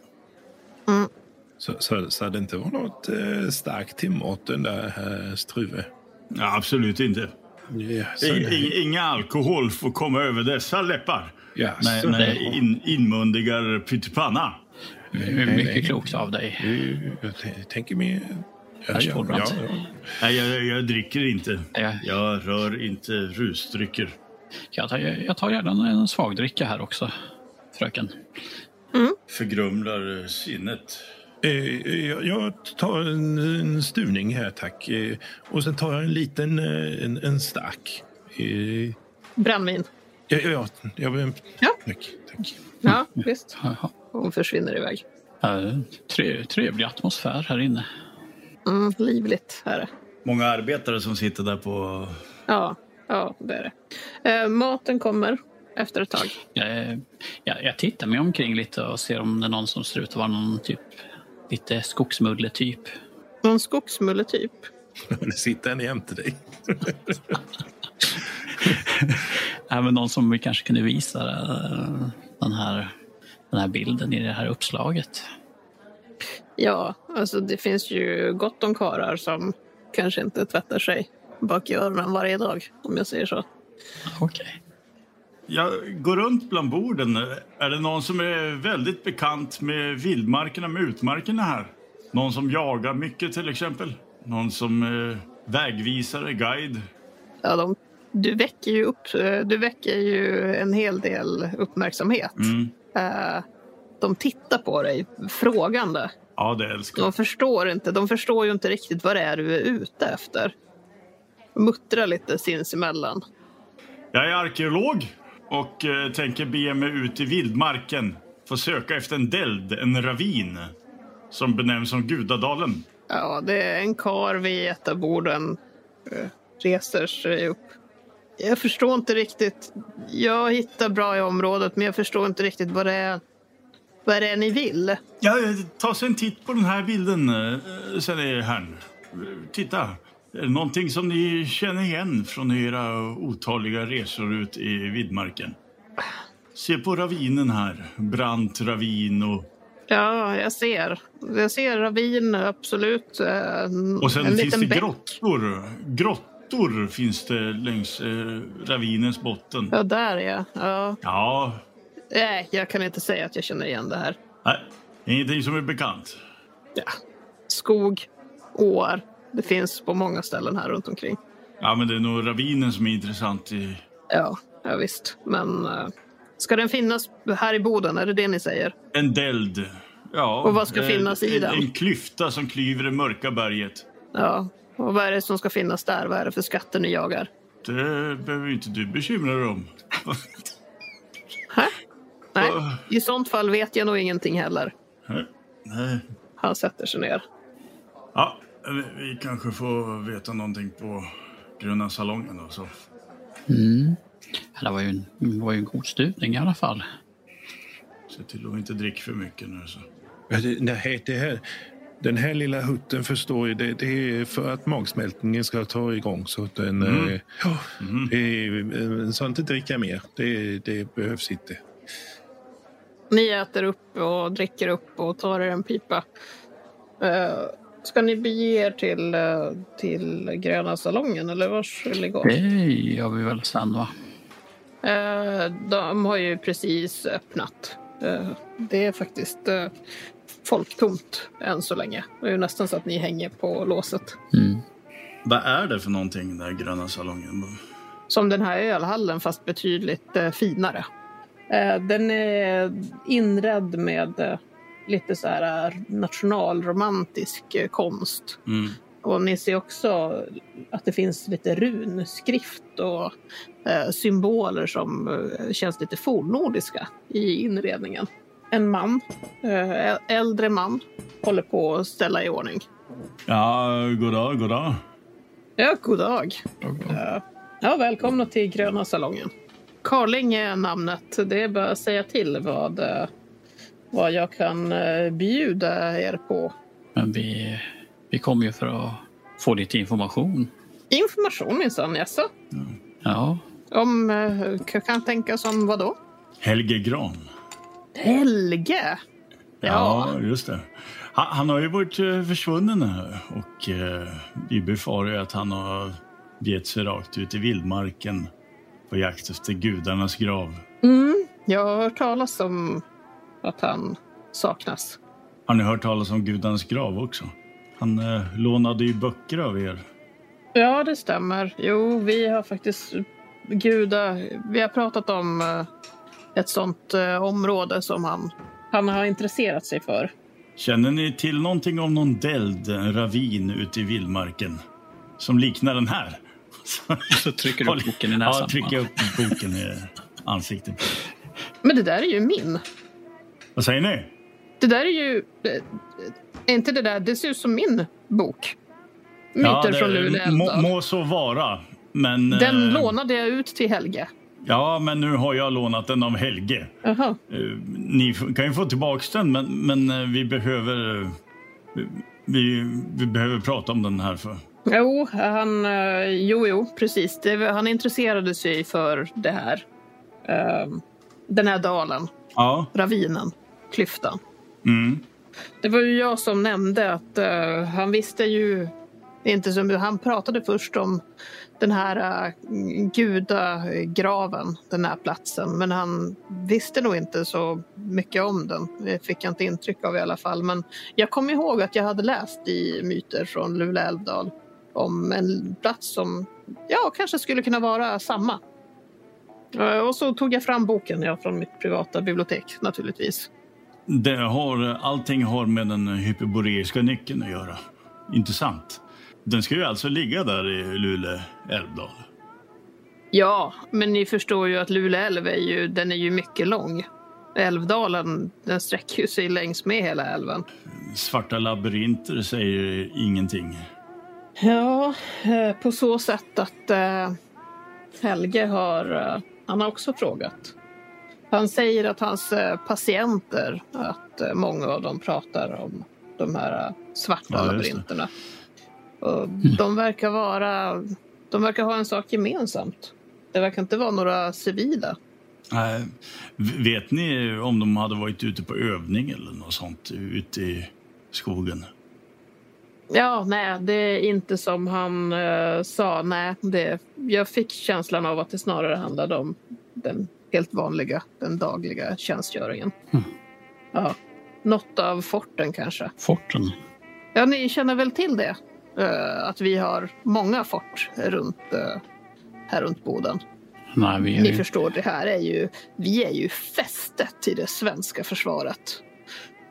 A: Så, så, så det inte var något eh, starkt till maten där, eh, Struve.
D: Ja, absolut inte.
A: Ja, så
D: I,
A: det-
D: i, inga alkohol får komma över dessa läppar.
A: ja,
D: Nej,
A: så
D: nej
A: det-
D: in, inmundigar pyttipanna.
C: Det är mycket klokt av dig.
A: Eh, Jag t- tänker mer... Ja, ja, ja,
C: Persbrandt.
A: ja.
D: Nej, jag, jag, jag dricker inte.
C: Ja.
D: Jag rör inte rusdrycker.
C: Jag tar, jag tar gärna en svagdricka här också, fröken.
D: Förgrumlar eh, sinnet.
A: Eh, jag- Jag tar en, en stuvning här, tack. Eh, Och sen tar jag en liten, eh, en, en stark. Eh,
B: Brännvin.
A: Ja, ja, ja. Jag vill...
B: Ja.
A: Tack, tack.
B: Ja, visst.
C: Jaha.
B: Hon försvinner iväg.
C: Eh, tre- Trevlig atmosfär här inne.
B: Mm, livligt är det.
D: Många arbetare som sitter där på...
B: Ja, ja, det är det. Eh, maten kommer efter ett tag.
C: Jag, jag, jag tittar mig omkring lite och ser om det är någon som ser ut att vara någon typ lite skogsmulle-typ.
B: Någon skogsmulle typ.
A: Nu sitter han jämte dig.
C: Även någon som vi kanske kunde visa eh, den här, den här bilden i det här uppslaget.
B: Ja, alltså det finns ju gott om karlar som kanske inte tvättar sig bak i öronen varje dag, om jag säger så.
C: Okej.
D: Jag går runt bland borden. Är det någon som är väldigt bekant med vildmarkerna, med utmarkerna här? Någon som jagar mycket till exempel? Någon som eh, vägvisare, guide?
B: Ja, de, du, väcker ju upp, eh, du väcker ju en hel del uppmärksamhet.
D: Mm.
B: Eh, de tittar på dig frågande.
D: Ja, det älskar
B: De
D: jag.
B: förstår, inte, de förstår ju inte riktigt vad det är du är ute efter. Muttrar lite sinsemellan.
D: Jag är arkeolog och eh, tänker bege mig ut i vildmarken för att söka efter en deld, en ravin som benämns som Gudadalen.
B: Ja, det är en kar vid ett av borden. eh, Reser sig upp. Jag förstår inte riktigt. Jag hittar bra i området, men jag förstår inte riktigt vad det är, vad det är ni vill.
D: Ja, eh, ta sig en titt på den här bilden, eh, sen är herrn. Titta, är det någonting som ni känner igen från era otaliga resor ut i vildmarken? Se på ravinen här, brant ravin och...
B: Ja, jag ser. Jag ser ravin, absolut. eh, En,
D: Och sen
B: en
D: finns
B: liten
D: det
B: bäck.
D: grottor. Grottor finns det längs eh, ravinens botten.
B: Ja, där är jag. Ja.
D: Ja,
B: Nej, jag kan inte säga att jag känner igen det här.
D: nej, ingenting som är bekant.
B: Ja. Skog, åar. Det finns på många ställen här runt omkring.
D: Ja, men det är nog ravinen som är intressant. I...
B: Ja, ja visst. Men eh, ska den finnas här i Boden? Är det det ni säger?
D: En deld. Ja,
B: Och vad ska
D: eh,
B: finnas i
D: en,
B: den?
D: En klyfta som klyver det mörka berget.
B: Ja. Och vad är det som ska finnas där? Vad är det för skatter ni jagar?
D: Det behöver inte du bekymra dig om.
B: Hä? Nej, i sånt fall vet jag nog ingenting heller.
D: Nej.
B: Han sätter sig ner.
D: Ja, vi, vi kanske får veta någonting på Gröna salongen då. Så.
C: Ja, Det var ju en, var ju en god stuvning i alla fall.
D: Se till att inte dricka för mycket nu. Så.
A: Ja, det- Nej, det här, den här lilla hutten förstår jag. Det, det är för att magsmältningen ska ta igång. Så att den, eh, ja, det är, eh, så att inte dricka mer. Det, det behövs inte.
B: Ni äter upp och dricker upp och tar er en pipa. Eh, ska ni bege er till, eh, till Gröna salongen eller vars vill ni gå?
C: Det gör vi väl sen va?
B: Eh, de har ju precis öppnat. Eh, det är faktiskt eh, folktomt än så länge. Det är ju nästan så att ni hänger på låset.
C: Mm.
D: Vad är det för någonting, den där Gröna salongen?
B: Som den här ölhallen fast betydligt eh, finare. Eh, den är inredd med eh, lite så här eh, nationalromantisk eh, konst.
D: Mm.
B: Och ni ser också att det finns lite runskrift och eh, symboler som eh, känns lite fornnordiska i inredningen. en man, eh, äldre man, håller på att ställa i ordning.
D: Ja, goddag, goddag.
B: Ja, god dag. Eh, Ja, välkomna till Gröna salongen. Karling är namnet. Det är bara att säga till vad, eh, vad jag kan eh, bjuda er på.
C: Men vi, vi kom ju för att få lite information.
B: Information minsann, jaså?
C: Ja,
B: Om, eh, k- kan tänka som vad då?
D: Helge Gran.
B: Helge? Ja.
D: just det. Han, han har ju varit eh, försvunnen här och eh, vi befarar ju att han har begett sig rakt ut i vildmarken på jakt efter gudarnas grav.
B: Mm, jag har hört talas om att han saknas.
D: Har ni hört talas om gudarnas grav också? Han eh, lånade ju böcker av er.
B: Ja, det stämmer. Jo, vi har faktiskt guda... Vi har pratat om eh, ett sånt eh, område som han, han har intresserat sig för.
D: Känner ni till någonting om någon deld, en ravin ute i vildmarken som liknar den här?
C: så trycker du upp boken i näsan.
D: Ja, trycker jag upp boken i ansiktet. på.
B: Men det där är ju min.
D: Vad säger ni?
B: Det där är ju... eh, Är inte det där... Det ser ut som min bok. Myter
D: det-
B: från
D: må,
B: Luleälvdal.
D: må så vara, men...
B: Den
D: eh,
B: lånade jag ut till Helge.
D: Ja, men nu har jag lånat den av Helge.
B: Aha.
D: Eh, Ni f- kan ju få tillbaks den, men, men eh, vi behöver... eh, Vi, vi behöver prata om den här. För.
B: Jo, han, eh, jo, jo, precis. Det, var- han intresserade sig för det här. Ehm, den här dalen,
D: Ja.
B: ravinen, klyftan.
D: Mm.
B: Det var ju jag som nämnde att eh, han visste ju inte så mycket. Han pratade först om den här uh, gudagraven, den här platsen. Men han visste nog inte så mycket om den. Det fick jag inte intryck av i alla fall. Men jag kom ihåg att jag hade läst i myter från Lule älvdal om en plats som ja, kanske skulle kunna vara samma. Eh, och så tog jag fram boken ja, från mitt privata bibliotek naturligtvis.
D: Det har, allting har med den hyperboreiska nyckeln att göra. Intressant. Den ska ju alltså ligga där i Luleå älvdal.
B: Ja, men ni förstår ju att Lule älv är ju, den är ju mycket lång. Älvdalen, den sträcker ju sig längs med hela älven.
D: Svarta labyrinter säger ingenting.
B: Ja, eh, på så sätt att eh, Helge har, eh, han har också frågat. Han säger att hans eh, patienter, att eh, många av dem pratar om de här eh, svarta
D: Ja, just det.
B: labyrinterna. Och de verkar vara, de verkar ha en sak gemensamt. Det verkar inte vara några civila.
D: Nej. V- Vet ni om de hade varit ute på övning eller något sånt ute i skogen?
B: Ja, nej, det är inte som han eh, sa. Nej, det, jag fick känslan av att det snarare handlade om den helt vanliga, den dagliga tjänstgöringen.
C: Mm.
B: Ja, något av forten kanske.
C: Forten.
B: Ja, ni känner väl till det? Eh, att vi har många fort runt, eh, här runt Boden.
C: Nej, vi är
B: Ni
C: ju...
B: förstår, det här är ju, vi är ju fästet i det svenska försvaret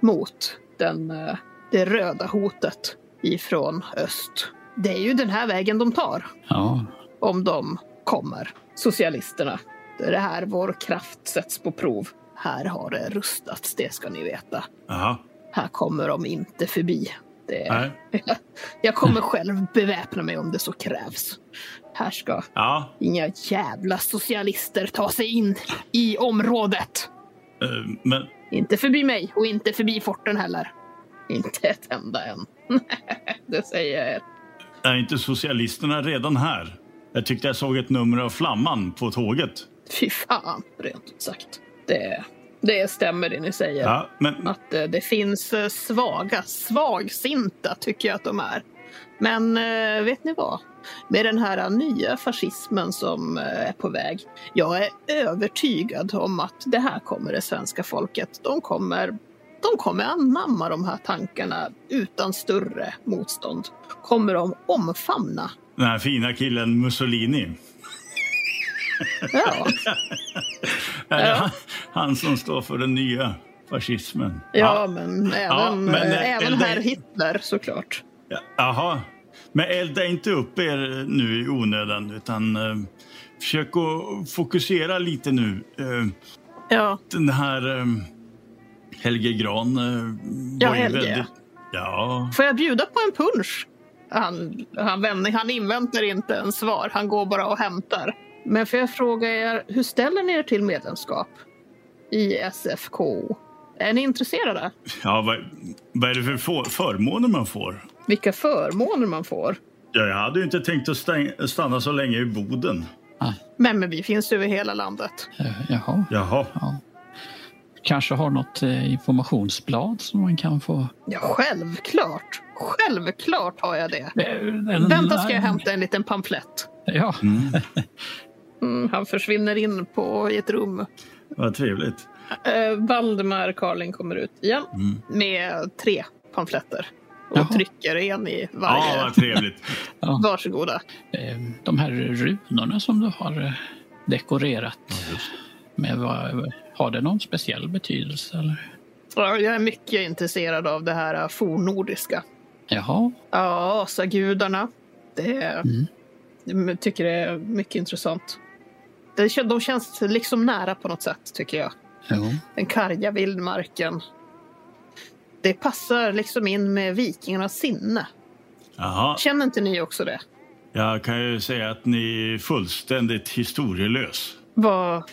B: mot den, eh, det röda hotet ifrån öst. Det är ju den här vägen de tar
C: Ja,
B: om de kommer, socialisterna. Det är det här vår kraft sätts på prov. Här har det rustats, det ska ni veta.
D: Aha.
B: Här kommer de inte förbi. Det,
D: Nej.
B: jag kommer själv beväpna mig om det så krävs. Här ska
D: Ja.
B: Inga jävla socialister ta sig in i området.
D: eh, Men
B: Inte förbi mig och inte förbi forten heller. Inte ett enda en. det säger jag er.
D: är inte socialisterna redan här? Jag tyckte jag såg ett nummer av Flamman på tåget.
B: Fy fan, rent ut sagt. Det, det stämmer det ni säger.
D: Ja, men
B: Att eh, det finns eh, svaga, svagsinta tycker jag att de är. Men eh, vet ni vad? Med den här eh, nya fascismen som eh, är på väg. Jag är övertygad om att det här kommer det svenska folket. De kommer, de kommer anamma de här tankarna utan större motstånd. Kommer de omfamna?
D: den här fina killen Mussolini.
B: Ja,
D: Är det
B: Ja.
D: han, han som står för den nya fascismen?
B: ja men även,
D: men,
B: eh,
D: eh,
B: även
D: det-
B: herr Hitler såklart.
D: Ja, Jaha. Men elda inte upp er nu i onödan, utan eh, försök att fokusera lite nu. Eh,
B: Ja,
D: den här... Eh, Helge Gran eh,
B: Ja,
D: var ju
B: Helge.
D: väldigt... Ja,
B: Får jag bjuda på en punsch? Han, han, vänder, han inväntar inte en svar, han går bara och hämtar. Men får jag fråga er, hur ställer ni er till medlemskap i SFK? Är ni intresserade?
D: ja vad, vad är det för få- förmåner man får?
B: Vilka förmåner man får?
D: Ja, jag hade ju inte tänkt att stäng- stanna så länge i Boden.
B: Men, men vi finns över hela landet.
C: Ah, Eh, Jaha.
D: Jaha.
C: Ja. Kanske har något eh, informationsblad som man kan få...
B: Ja, självklart. Självklart har jag det.
C: Eh, En
B: Vänta ska jag hämta en liten pamflett.
C: Ja,
D: Mm,
B: Mm, han försvinner in på, i ett rum.
D: vad trevligt.
B: Eh, Valdemar Karling kommer ut igen
D: Mm.
B: med tre pamfletter och
C: Jaha.
B: trycker en i varje.
D: Ja, vad trevligt.
B: Varsågoda.
C: eh, de här runorna som du har eh, dekorerat med, vad, har det någon speciell betydelse? Eller?
B: Ja, Jag är mycket intresserad av det här eh, fornnordiska.
C: Jaha,
B: Ja, asagudarna. Det är,
C: Mm.
B: jag tycker det är mycket intressant. Det, kän- de känns liksom nära på något sätt, tycker jag.
C: jo.
B: Den karga vildmarken. Det passar liksom in med vikingarnas sinne.
D: Jaha.
B: Känner inte ni också det?
D: Jag kan ju säga att ni är fullständigt historielös.
B: Vad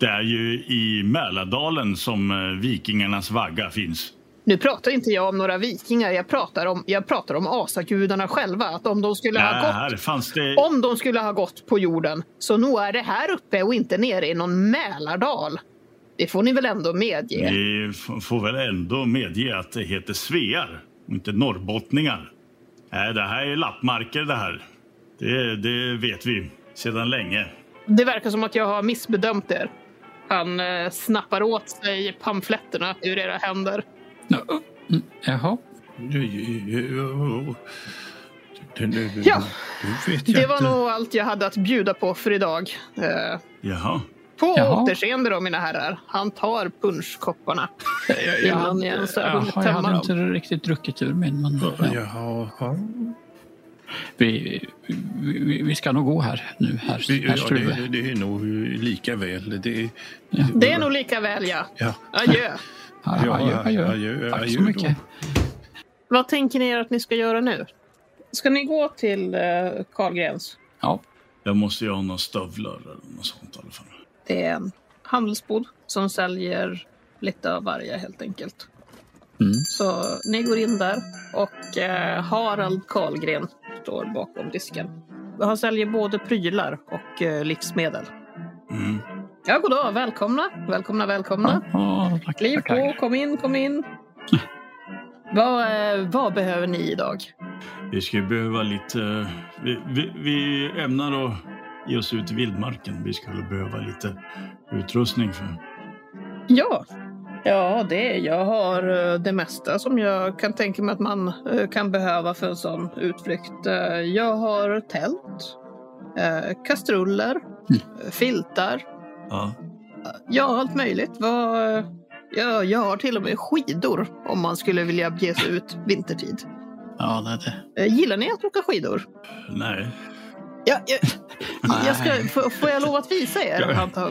D: Det är ju i Mälardalen som eh, vikingarnas vagga finns.
B: Nu pratar inte jag om några vikingar, jag pratar om, jag pratar om asagudarna själva. Att om de, skulle ha
D: Ja,
B: gått,
D: här fanns det...
B: om de skulle ha gått på jorden, så nog är det här uppe och inte nere i någon Mälardal. Det får ni väl ändå medge?
D: Ni f- får väl ändå medge att det heter svear och inte norrbottningar. Nej, det här är lappmarker det här. Det, det vet vi sedan länge.
B: Det verkar som att jag har missbedömt er. Han eh, snappar åt sig pamfletterna ur era händer.
C: Ja, mm, Jaha,
A: Det, det,
B: Ja,
A: det vet jag
B: Det var
A: inte.
B: nog allt jag hade att bjuda på för idag. Eh,
D: Jaha.
B: på
C: Jaha.
B: återseende då, mina herrar. Han tar punschkopparna innan ni ens har
C: Jaha,
B: hunnit
C: jag hade
B: tömma.
C: inte riktigt druckit ur min. Men, ja.
A: Jaha, ja.
C: vi, vi, vi ska nog gå här nu, herr, herr
A: Ja,
C: Struve.
A: det, det är nog lika väl. Det,
B: Det är nog lika väl, ja.
A: ja.
B: Adjö.
C: Ja,
A: Ja,
C: adjö, adjö.
A: adjö,
C: Tack
A: adjö
C: så
A: då.
C: mycket.
B: Vad tänker ni er att ni ska göra nu? Ska ni gå till eh, Karlgrens?
C: Ja,
D: Jag måste ju ha några stövlar eller något sånt i alla fall.
B: Det är en handelsbod som säljer lite av varje helt enkelt.
C: Mm.
B: Så ni går in där och eh, Harald Karlgren står bakom disken. Han säljer både prylar och eh, livsmedel.
D: Mm.
B: Ja, goddag! Välkomna, välkomna, välkomna.
C: ja, ja, tack,
B: Kliv
C: tack, tack.
B: på, kom in, kom in. vad, eh, vad behöver ni idag?
D: Vi ska ju behöva lite... eh, Vi, vi, vi ämnar att ge oss ut i vildmarken. Vi skulle behöva lite utrustning för...
B: Ja. Ja, det. Jag har eh, det mesta som jag kan tänka mig att man eh, kan behöva för en sån utflykt. Eh, Jag har tält, eh, kastruller, eh, filtar.
D: Ja.
B: Ja, allt möjligt. Vad, eh, Ja, jag har till och med skidor om man skulle vilja ge sig ut vintertid.
C: Ja, det, det.
B: Eh, Gillar ni att åka skidor?
D: Nej.
B: Ja, jag, jag ska, får- får jag lov att visa er? Han tar,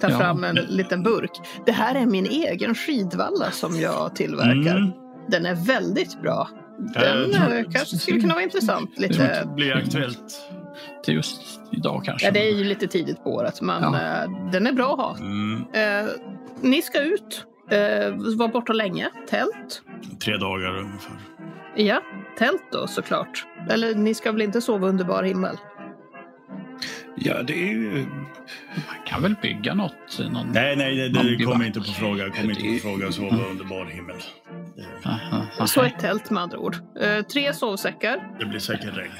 B: tar
C: Ja.
B: fram en liten burk. Det här är min egen skidvalla som jag tillverkar.
D: Mm.
B: Den är väldigt bra.
D: Ja, jag
B: Den
D: tror-
B: eh, kanske skulle kunna vara intressant.
D: Jag tror inte
B: Lite,
D: det blir aktuellt.
C: Till just idag kanske.
B: ja, det är ju lite tidigt på året, men
C: Ja.
B: eh, den är bra att ha.
D: Mm.
B: Eh, ni ska ut, eh, vara borta länge. Tält.
D: Tre dagar ungefär.
B: Ja, tält då såklart. Eller ni ska väl inte sova under bar himmel?
A: ja, det är ju...
C: Man kan väl bygga något? Någon...
D: Nej, nej, nej, det
C: Någon
D: kommer
C: bivack.
D: inte på fråga. Kommer inte på fråga att sova under bar himmel. Det-
C: Aha, aha.
B: Så ett tält med andra ord. Eh, tre sovsäckar.
D: Det blir säkert regn.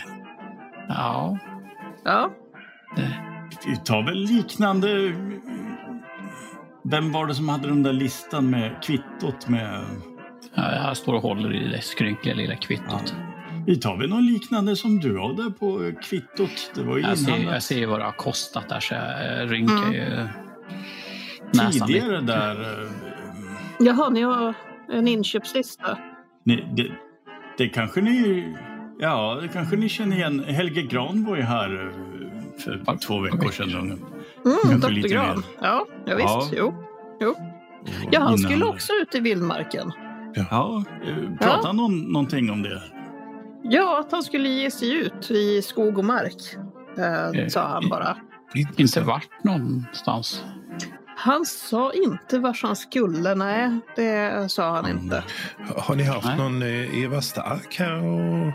C: Ja,
B: Ja.
D: Vi tar väl liknande... Vem var det som hade den där listan med kvittot med...
C: Ja, jag står och håller i det skrynkliga lilla kvittot.
D: Vi tar väl något liknande som du har där på eh, kvittot. Det var ju
C: Jag, ser, jag
D: inhandlat
C: ser ju vad det har kostat där så jag eh, rynkar
B: Mm.
C: ju näsan lite.
D: tidigare där. eh,
B: Jaha, ni har en inköpslista.
D: Ni, det, det kanske ni... Ja, det kanske ni känner igen. Helge Gran var ju här eh, för
C: Ja,
D: två veckor sedan.
B: Mm,
D: Kanske
B: Dr.
D: lite
B: Gran.
D: mer.
B: Ja, ja, visst.
D: Ja.
B: Jo. jo.
D: Och
B: Ja, han
D: innan-
B: skulle också ut i vildmarken.
D: Ja, eh, pratade han någon, någonting om det?
B: Ja, att han skulle ge sig ut i skog och mark, eh,
C: Eh,
B: sa han
C: i-
B: bara.
C: Inte
A: Intressant.
C: vart någonstans.
B: Han sa inte vart han skulle, nej, det sa han inte.
A: Har ni haft
C: Nej.
A: någon eh, Eva Stark här och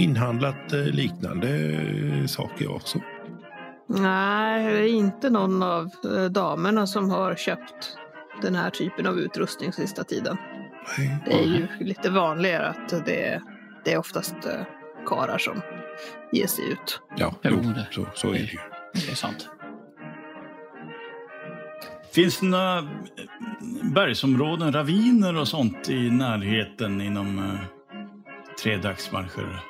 A: inhandlat eh, liknande eh, saker också?
B: Nej, det är inte någon av eh, damerna som har köpt den här typen av utrustning sista tiden.
A: Nej.
B: Det är ju lite vanligare att det, det är oftast eh, karlar som ger sig ut.
A: Ja,
C: Jo,
A: jo,
C: det-
A: så, så är det ju.
C: Det är sant.
D: Finns det några eh, bergsområden, raviner och sånt i närheten inom eh, tre dagsmarscher?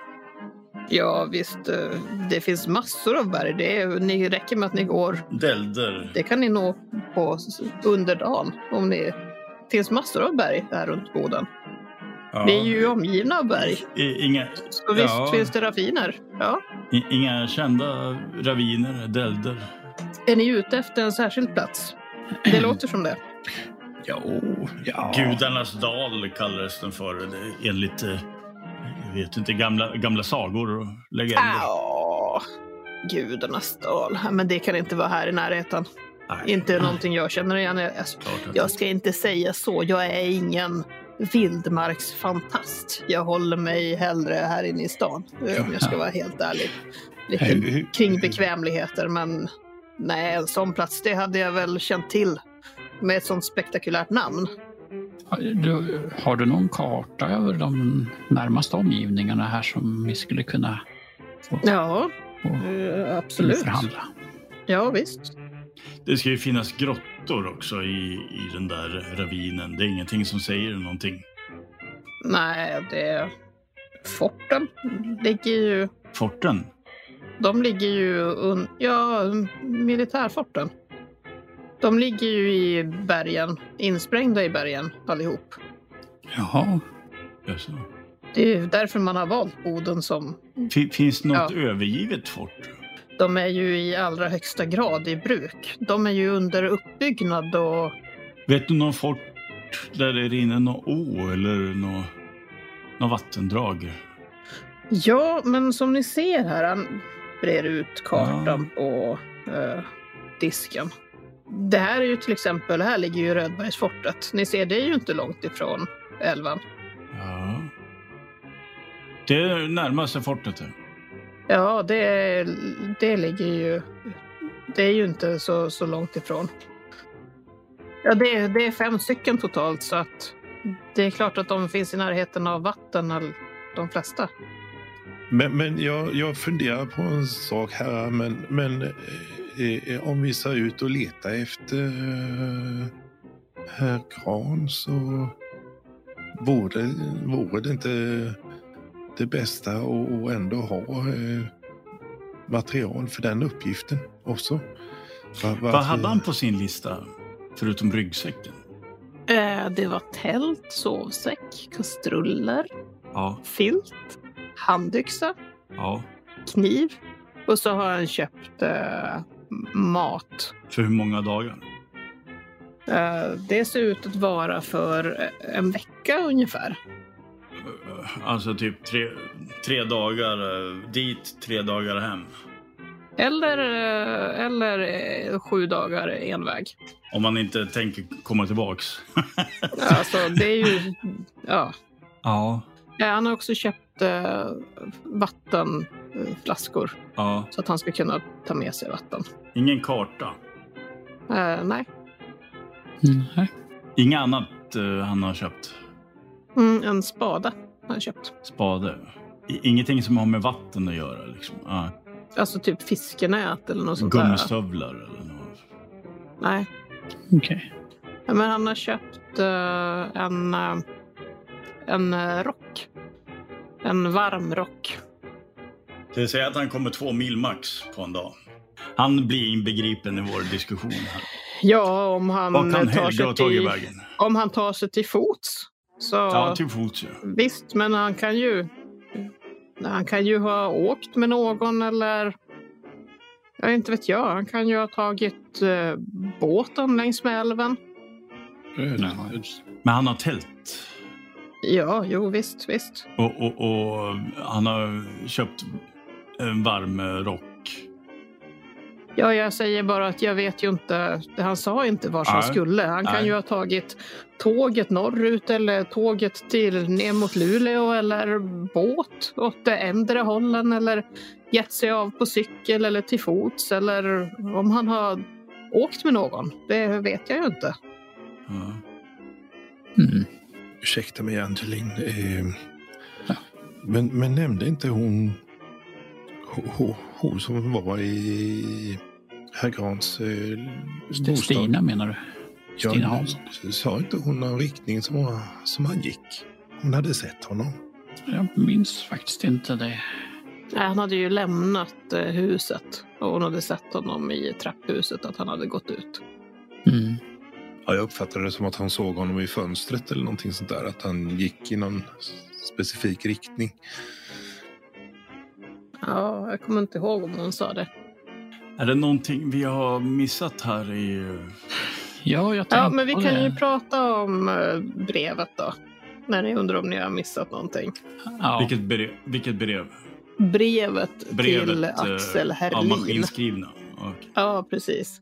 B: Ja, visst, eh, det finns massor av berg. Det är, ni räcker med att ni går.
D: Dälder.
B: Det kan ni nå på s- under dagen. Om ni, det finns massor av berg här runt Boden.
D: Ja.
B: Vi är ju omgivna av berg.
D: I- Inga,
B: Så visst
D: Ja.
B: finns det raviner. Ja.
D: i- inga kända raviner, dälder.
B: Är ni ute efter en särskild plats? Det låter som det.
A: Jo, ja.
D: Gudarnas dal kallades den för, det- enligt eh, jag vet inte, gamla, gamla sagor och legender.
B: Ja, gudarnas dal. Ja, Men det kan inte vara här i närheten.
D: Nej,
B: Inte någonting jag känner igen. Jag,
D: klart att-
B: jag ska inte säga så. Jag är ingen vildmarksfantast. Jag håller mig hellre här inne i stan, eh, om jag ska vara helt ärlig. Lite
A: Hur- hur-
B: kring bekvämligheter, men nej, en sån plats, det hade jag väl känt till med ett sånt spektakulärt namn.
C: Du, har du någon karta över de närmaste omgivningarna här som vi skulle kunna
B: Ja,
C: få
B: eh, absolut.
C: förhandla?
B: Ja, visst.
D: Det ska ju finnas grottor också i, i den där ravinen. Det är ingenting som säger någonting.
B: Nej, det... Forten ligger ju...
D: Forten?
B: De ligger ju... Un... Ja, militärforten. De ligger ju i bergen, insprängda i bergen allihop.
C: Jaha,
D: Jaså.
B: Det är ju därför man har valt Boden som...
D: Fi- Finns det något
B: Ja.
D: övergivet fort?
B: De är ju i allra högsta grad i bruk. De är ju under uppbyggnad och...
D: Vet du någon fort där det rinner någon å eller något nå vattendrag?
B: Ja, men som ni ser här, han brer ut kartan på eh, disken. Det här är ju till exempel, här ligger ju Rödbergsfortet. Ni ser, det är ju inte långt ifrån älven.
D: Ja. Det är närmaste fortet. det.
B: Ja, det, det ligger ju... Det är ju inte så, så långt ifrån. Ja, det, det är fem stycken totalt, så att det är klart att de finns i närheten av vatten, all- de flesta.
A: Men, men jag, jag funderar på en sak här. Men, men eh, eh, om vi ser ut och letar efter eh, herr Gran så vore, vore det inte det bästa att att ändå ha eh, material för den uppgiften också. Va- varför-
D: Vad hade han på sin lista? Förutom ryggsäcken?
B: Eh, Det var tält, sovsäck, kastruller,
D: Ja,
B: filt, handyxa,
D: ja.
B: kniv och så har han köpt eh, mat.
D: För hur många dagar?
B: Eh, det ser ut att vara för eh, en vecka ungefär.
D: Alltså typ tre, tre dagar eh, dit, tre dagar hem.
B: Eller, eh, eller eh, sju dagar en väg.
D: Om man inte tänker komma tillbaks.
B: Alltså, det är ju... Ja.
D: Ja.
B: Eh, Han har också köpt eh, vattenflaskor
D: ja.
B: så att han ska kunna ta med sig vatten.
D: Ingen karta.
B: Eh, nej.
C: Mm, nej.
D: Inget annat eh, han har köpt.
B: Mm, en spade har han köpt.
D: Spade. I, ingenting som har med vatten att göra. Liksom. Ja.
B: Alltså typ fiskenät eller något sånt där.
D: Gummistövlar eller något.
B: Nej.
C: okej.
B: Ja, Men han har köpt eh, en, eh, en eh, rock. En varm rock.
D: Det vill säga att han kommer två mil max på en dag. Han blir inbegripen i vår diskussion. Här.
B: Ja, om han,
D: Vad kan
B: eh, tar,
D: Helge ha
B: sig
D: tagit
B: till,
D: vägen?
B: om han tar sig till fots. Så
D: Ja, till fots. Ja.
B: visst, men han kan ju... Han kan ju ha åkt med någon eller... Jag vet inte vet jag. Han kan ju ha tagit eh, båten längs med älven.
C: Nej.
D: Men han har tält.
B: Ja, jo visst, visst.
D: Och, och, och han har köpt en varm eh, rock.
B: Ja, jag säger bara att jag vet ju inte. Han sa inte vart han
D: Nej.
B: skulle. Han kan
D: Nej.
B: ju ha tagit tåget norrut eller tåget till ner mot Luleå eller båt åt det ändre hållen eller gett sig av på cykel eller till fots eller om han har åkt med någon. Det vet jag ju inte.
D: Ja.
C: Mm.
A: Ursäkta mig Angelin. Eh,
C: Ja.
A: men, men nämnde inte hon hon, hon som var i herr Grans eh,
C: St-
A: bostad?
C: Stina menar du?
A: Ja,
C: Stina Hansson?
A: Sa inte hon någon riktning som, hon- som han gick? Hon hade sett honom.
C: Jag minns faktiskt inte det.
B: Nej, han hade ju lämnat eh, huset och hon hade sett honom i trapphuset att han hade gått ut.
C: Mm.
A: Ja, jag uppfattade det som att han såg honom i fönstret eller någonting sånt där. Att han gick i någon specifik riktning.
B: Ja, jag kommer inte ihåg om hon sa det.
D: Är det någonting vi har missat här i...
C: Ja, jag
B: Ja,
C: tänkte
B: men vi
C: på
B: kan
C: det.
B: ju prata om eh, brevet då. När ni undrar om ni har missat någonting.
C: Ja.
D: Vilket, brev, vilket brev?
B: Brevet,
D: Brevet
B: till
D: eh,
B: Axel
D: av
B: Herrlin.
D: maskinskrivna. Okej.
B: Ja, precis.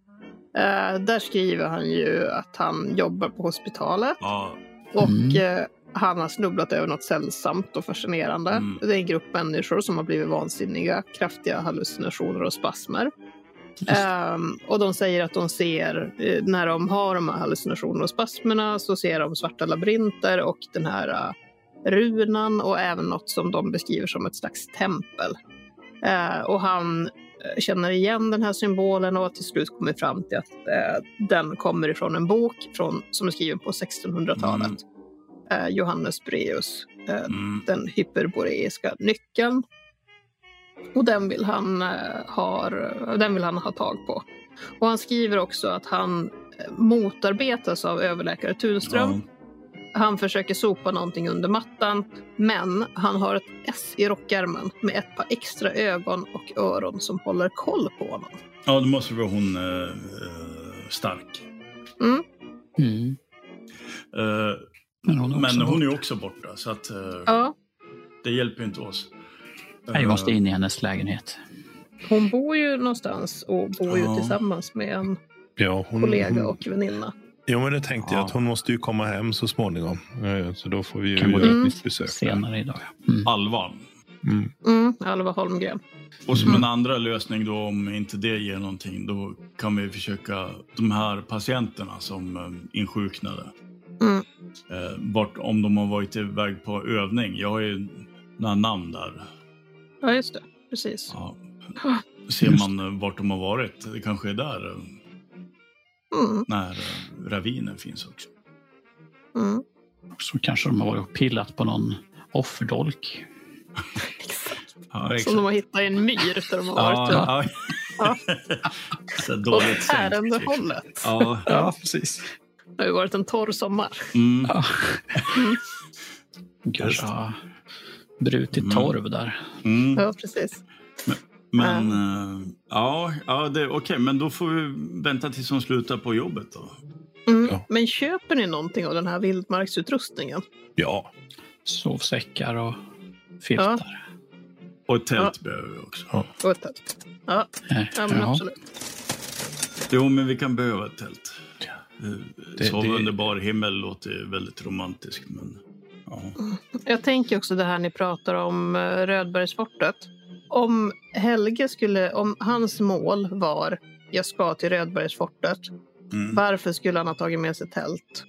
B: Eh, där skriver han ju att han jobbar på hospitalet
D: Ja,
B: och
C: Mm.
B: eh, han har snubblat över något sällsamt och fascinerande.
D: Mm.
B: Det är en grupp människor som har blivit vansinniga, kraftiga hallucinationer och spasmer. Ehm, och de säger att de ser, eh, när de har de här hallucinationerna och spasmerna, så ser de svarta labyrinter och den här eh, runan och även något som de beskriver som ett slags tempel. Eh, och han eh, känner igen den här symbolen och har till slut kommer fram till att eh, den kommer ifrån en bok från, som är skriven på 1600-talet. Eh, Johannes Breus, eh,
D: mm.
B: den hyperboreiska nyckeln. Och den vill, han, eh, har, den vill han ha tag på. Och han skriver också att han eh, motarbetas av överläkare Tunström.
D: ja.
B: Han försöker sopa någonting under mattan, men han har ett S i rockärmen med ett par extra ögon och öron som håller koll på honom.
D: ja, då måste det vara hon eh, eh, stark.
C: Mm.
D: Eh,
C: Men hon är också
D: men hon är
C: borta.
D: ju också borta, så att, eh,
B: Ja,
D: det hjälper ju inte oss.
C: Nej, Vi måste
D: Eh,
C: in i hennes lägenhet.
B: hon bor ju någonstans och bor ju
D: Ja. Mhm.
B: tillsammans med en
A: Ja, hon,
B: kollega
A: hon,
B: och väninna.
A: Jo, men det tänkte jag
D: Ja.
A: att hon måste ju komma hem så småningom. Eh, Så då får vi ju
C: Kan gå
A: göra
B: dit
A: ett nytt besök.
C: Senare idag. ja.
D: Eh,
C: Mm.
D: Alvan.
A: Mm.
B: Mm, Alva Holmgren.
D: Och som
B: Mm.
D: en andra lösning då, om inte det ger någonting, då kan vi försöka de här patienterna som eh, insjuknade.
B: Mm.
D: Eh, vart, om de har varit iväg på övning. Jag har ju några namn där.
B: Ja, just det. Precis.
D: Ja. Ser man eh, vart de har varit? Det kanske är där, eh,
B: Mm,
D: när eh, ravinen finns också.
B: mm.
C: Så kanske de har varit och pillat på någon offerdolk.
B: Exakt.
D: Ja,
B: Som de har hittat i en myr där de har varit. Ja.
D: Ja, ja. Så
B: Åt
D: dåligt sänkt. typ.
B: ärendehållet.
D: Ja.
C: Ja, precis.
B: Det har ju varit en torr sommar.
D: Mm.
C: Kanske har brutit
D: Mm.
C: torv där.
D: Mm.
B: Ja, precis.
D: Men eh, ja, ja det, okej, men då får vi vänta tills hon slutar på jobbet då.
B: Mm.
A: Ja.
B: Men köper ni någonting av den här vildmarksutrustningen?
A: Ja,
C: Sovsäckar och filtar.
D: Och ett tält behöver vi också.
B: Och ett tält. Ja,
C: Nej,
B: ja men
C: jaha.
B: absolut.
D: Jo, men vi kan behöva ett tält. Eh,
A: Det-
D: Sova
A: det-
D: under bar himmel låter väldigt romantiskt, men ja.
B: Jag tänker också det här ni pratar om eh, Rödbergsfortet. Om Helge skulle, om hans mål var jag ska till Rödbergsfortet.
D: Mm.
B: Varför skulle han ha tagit med sig tält?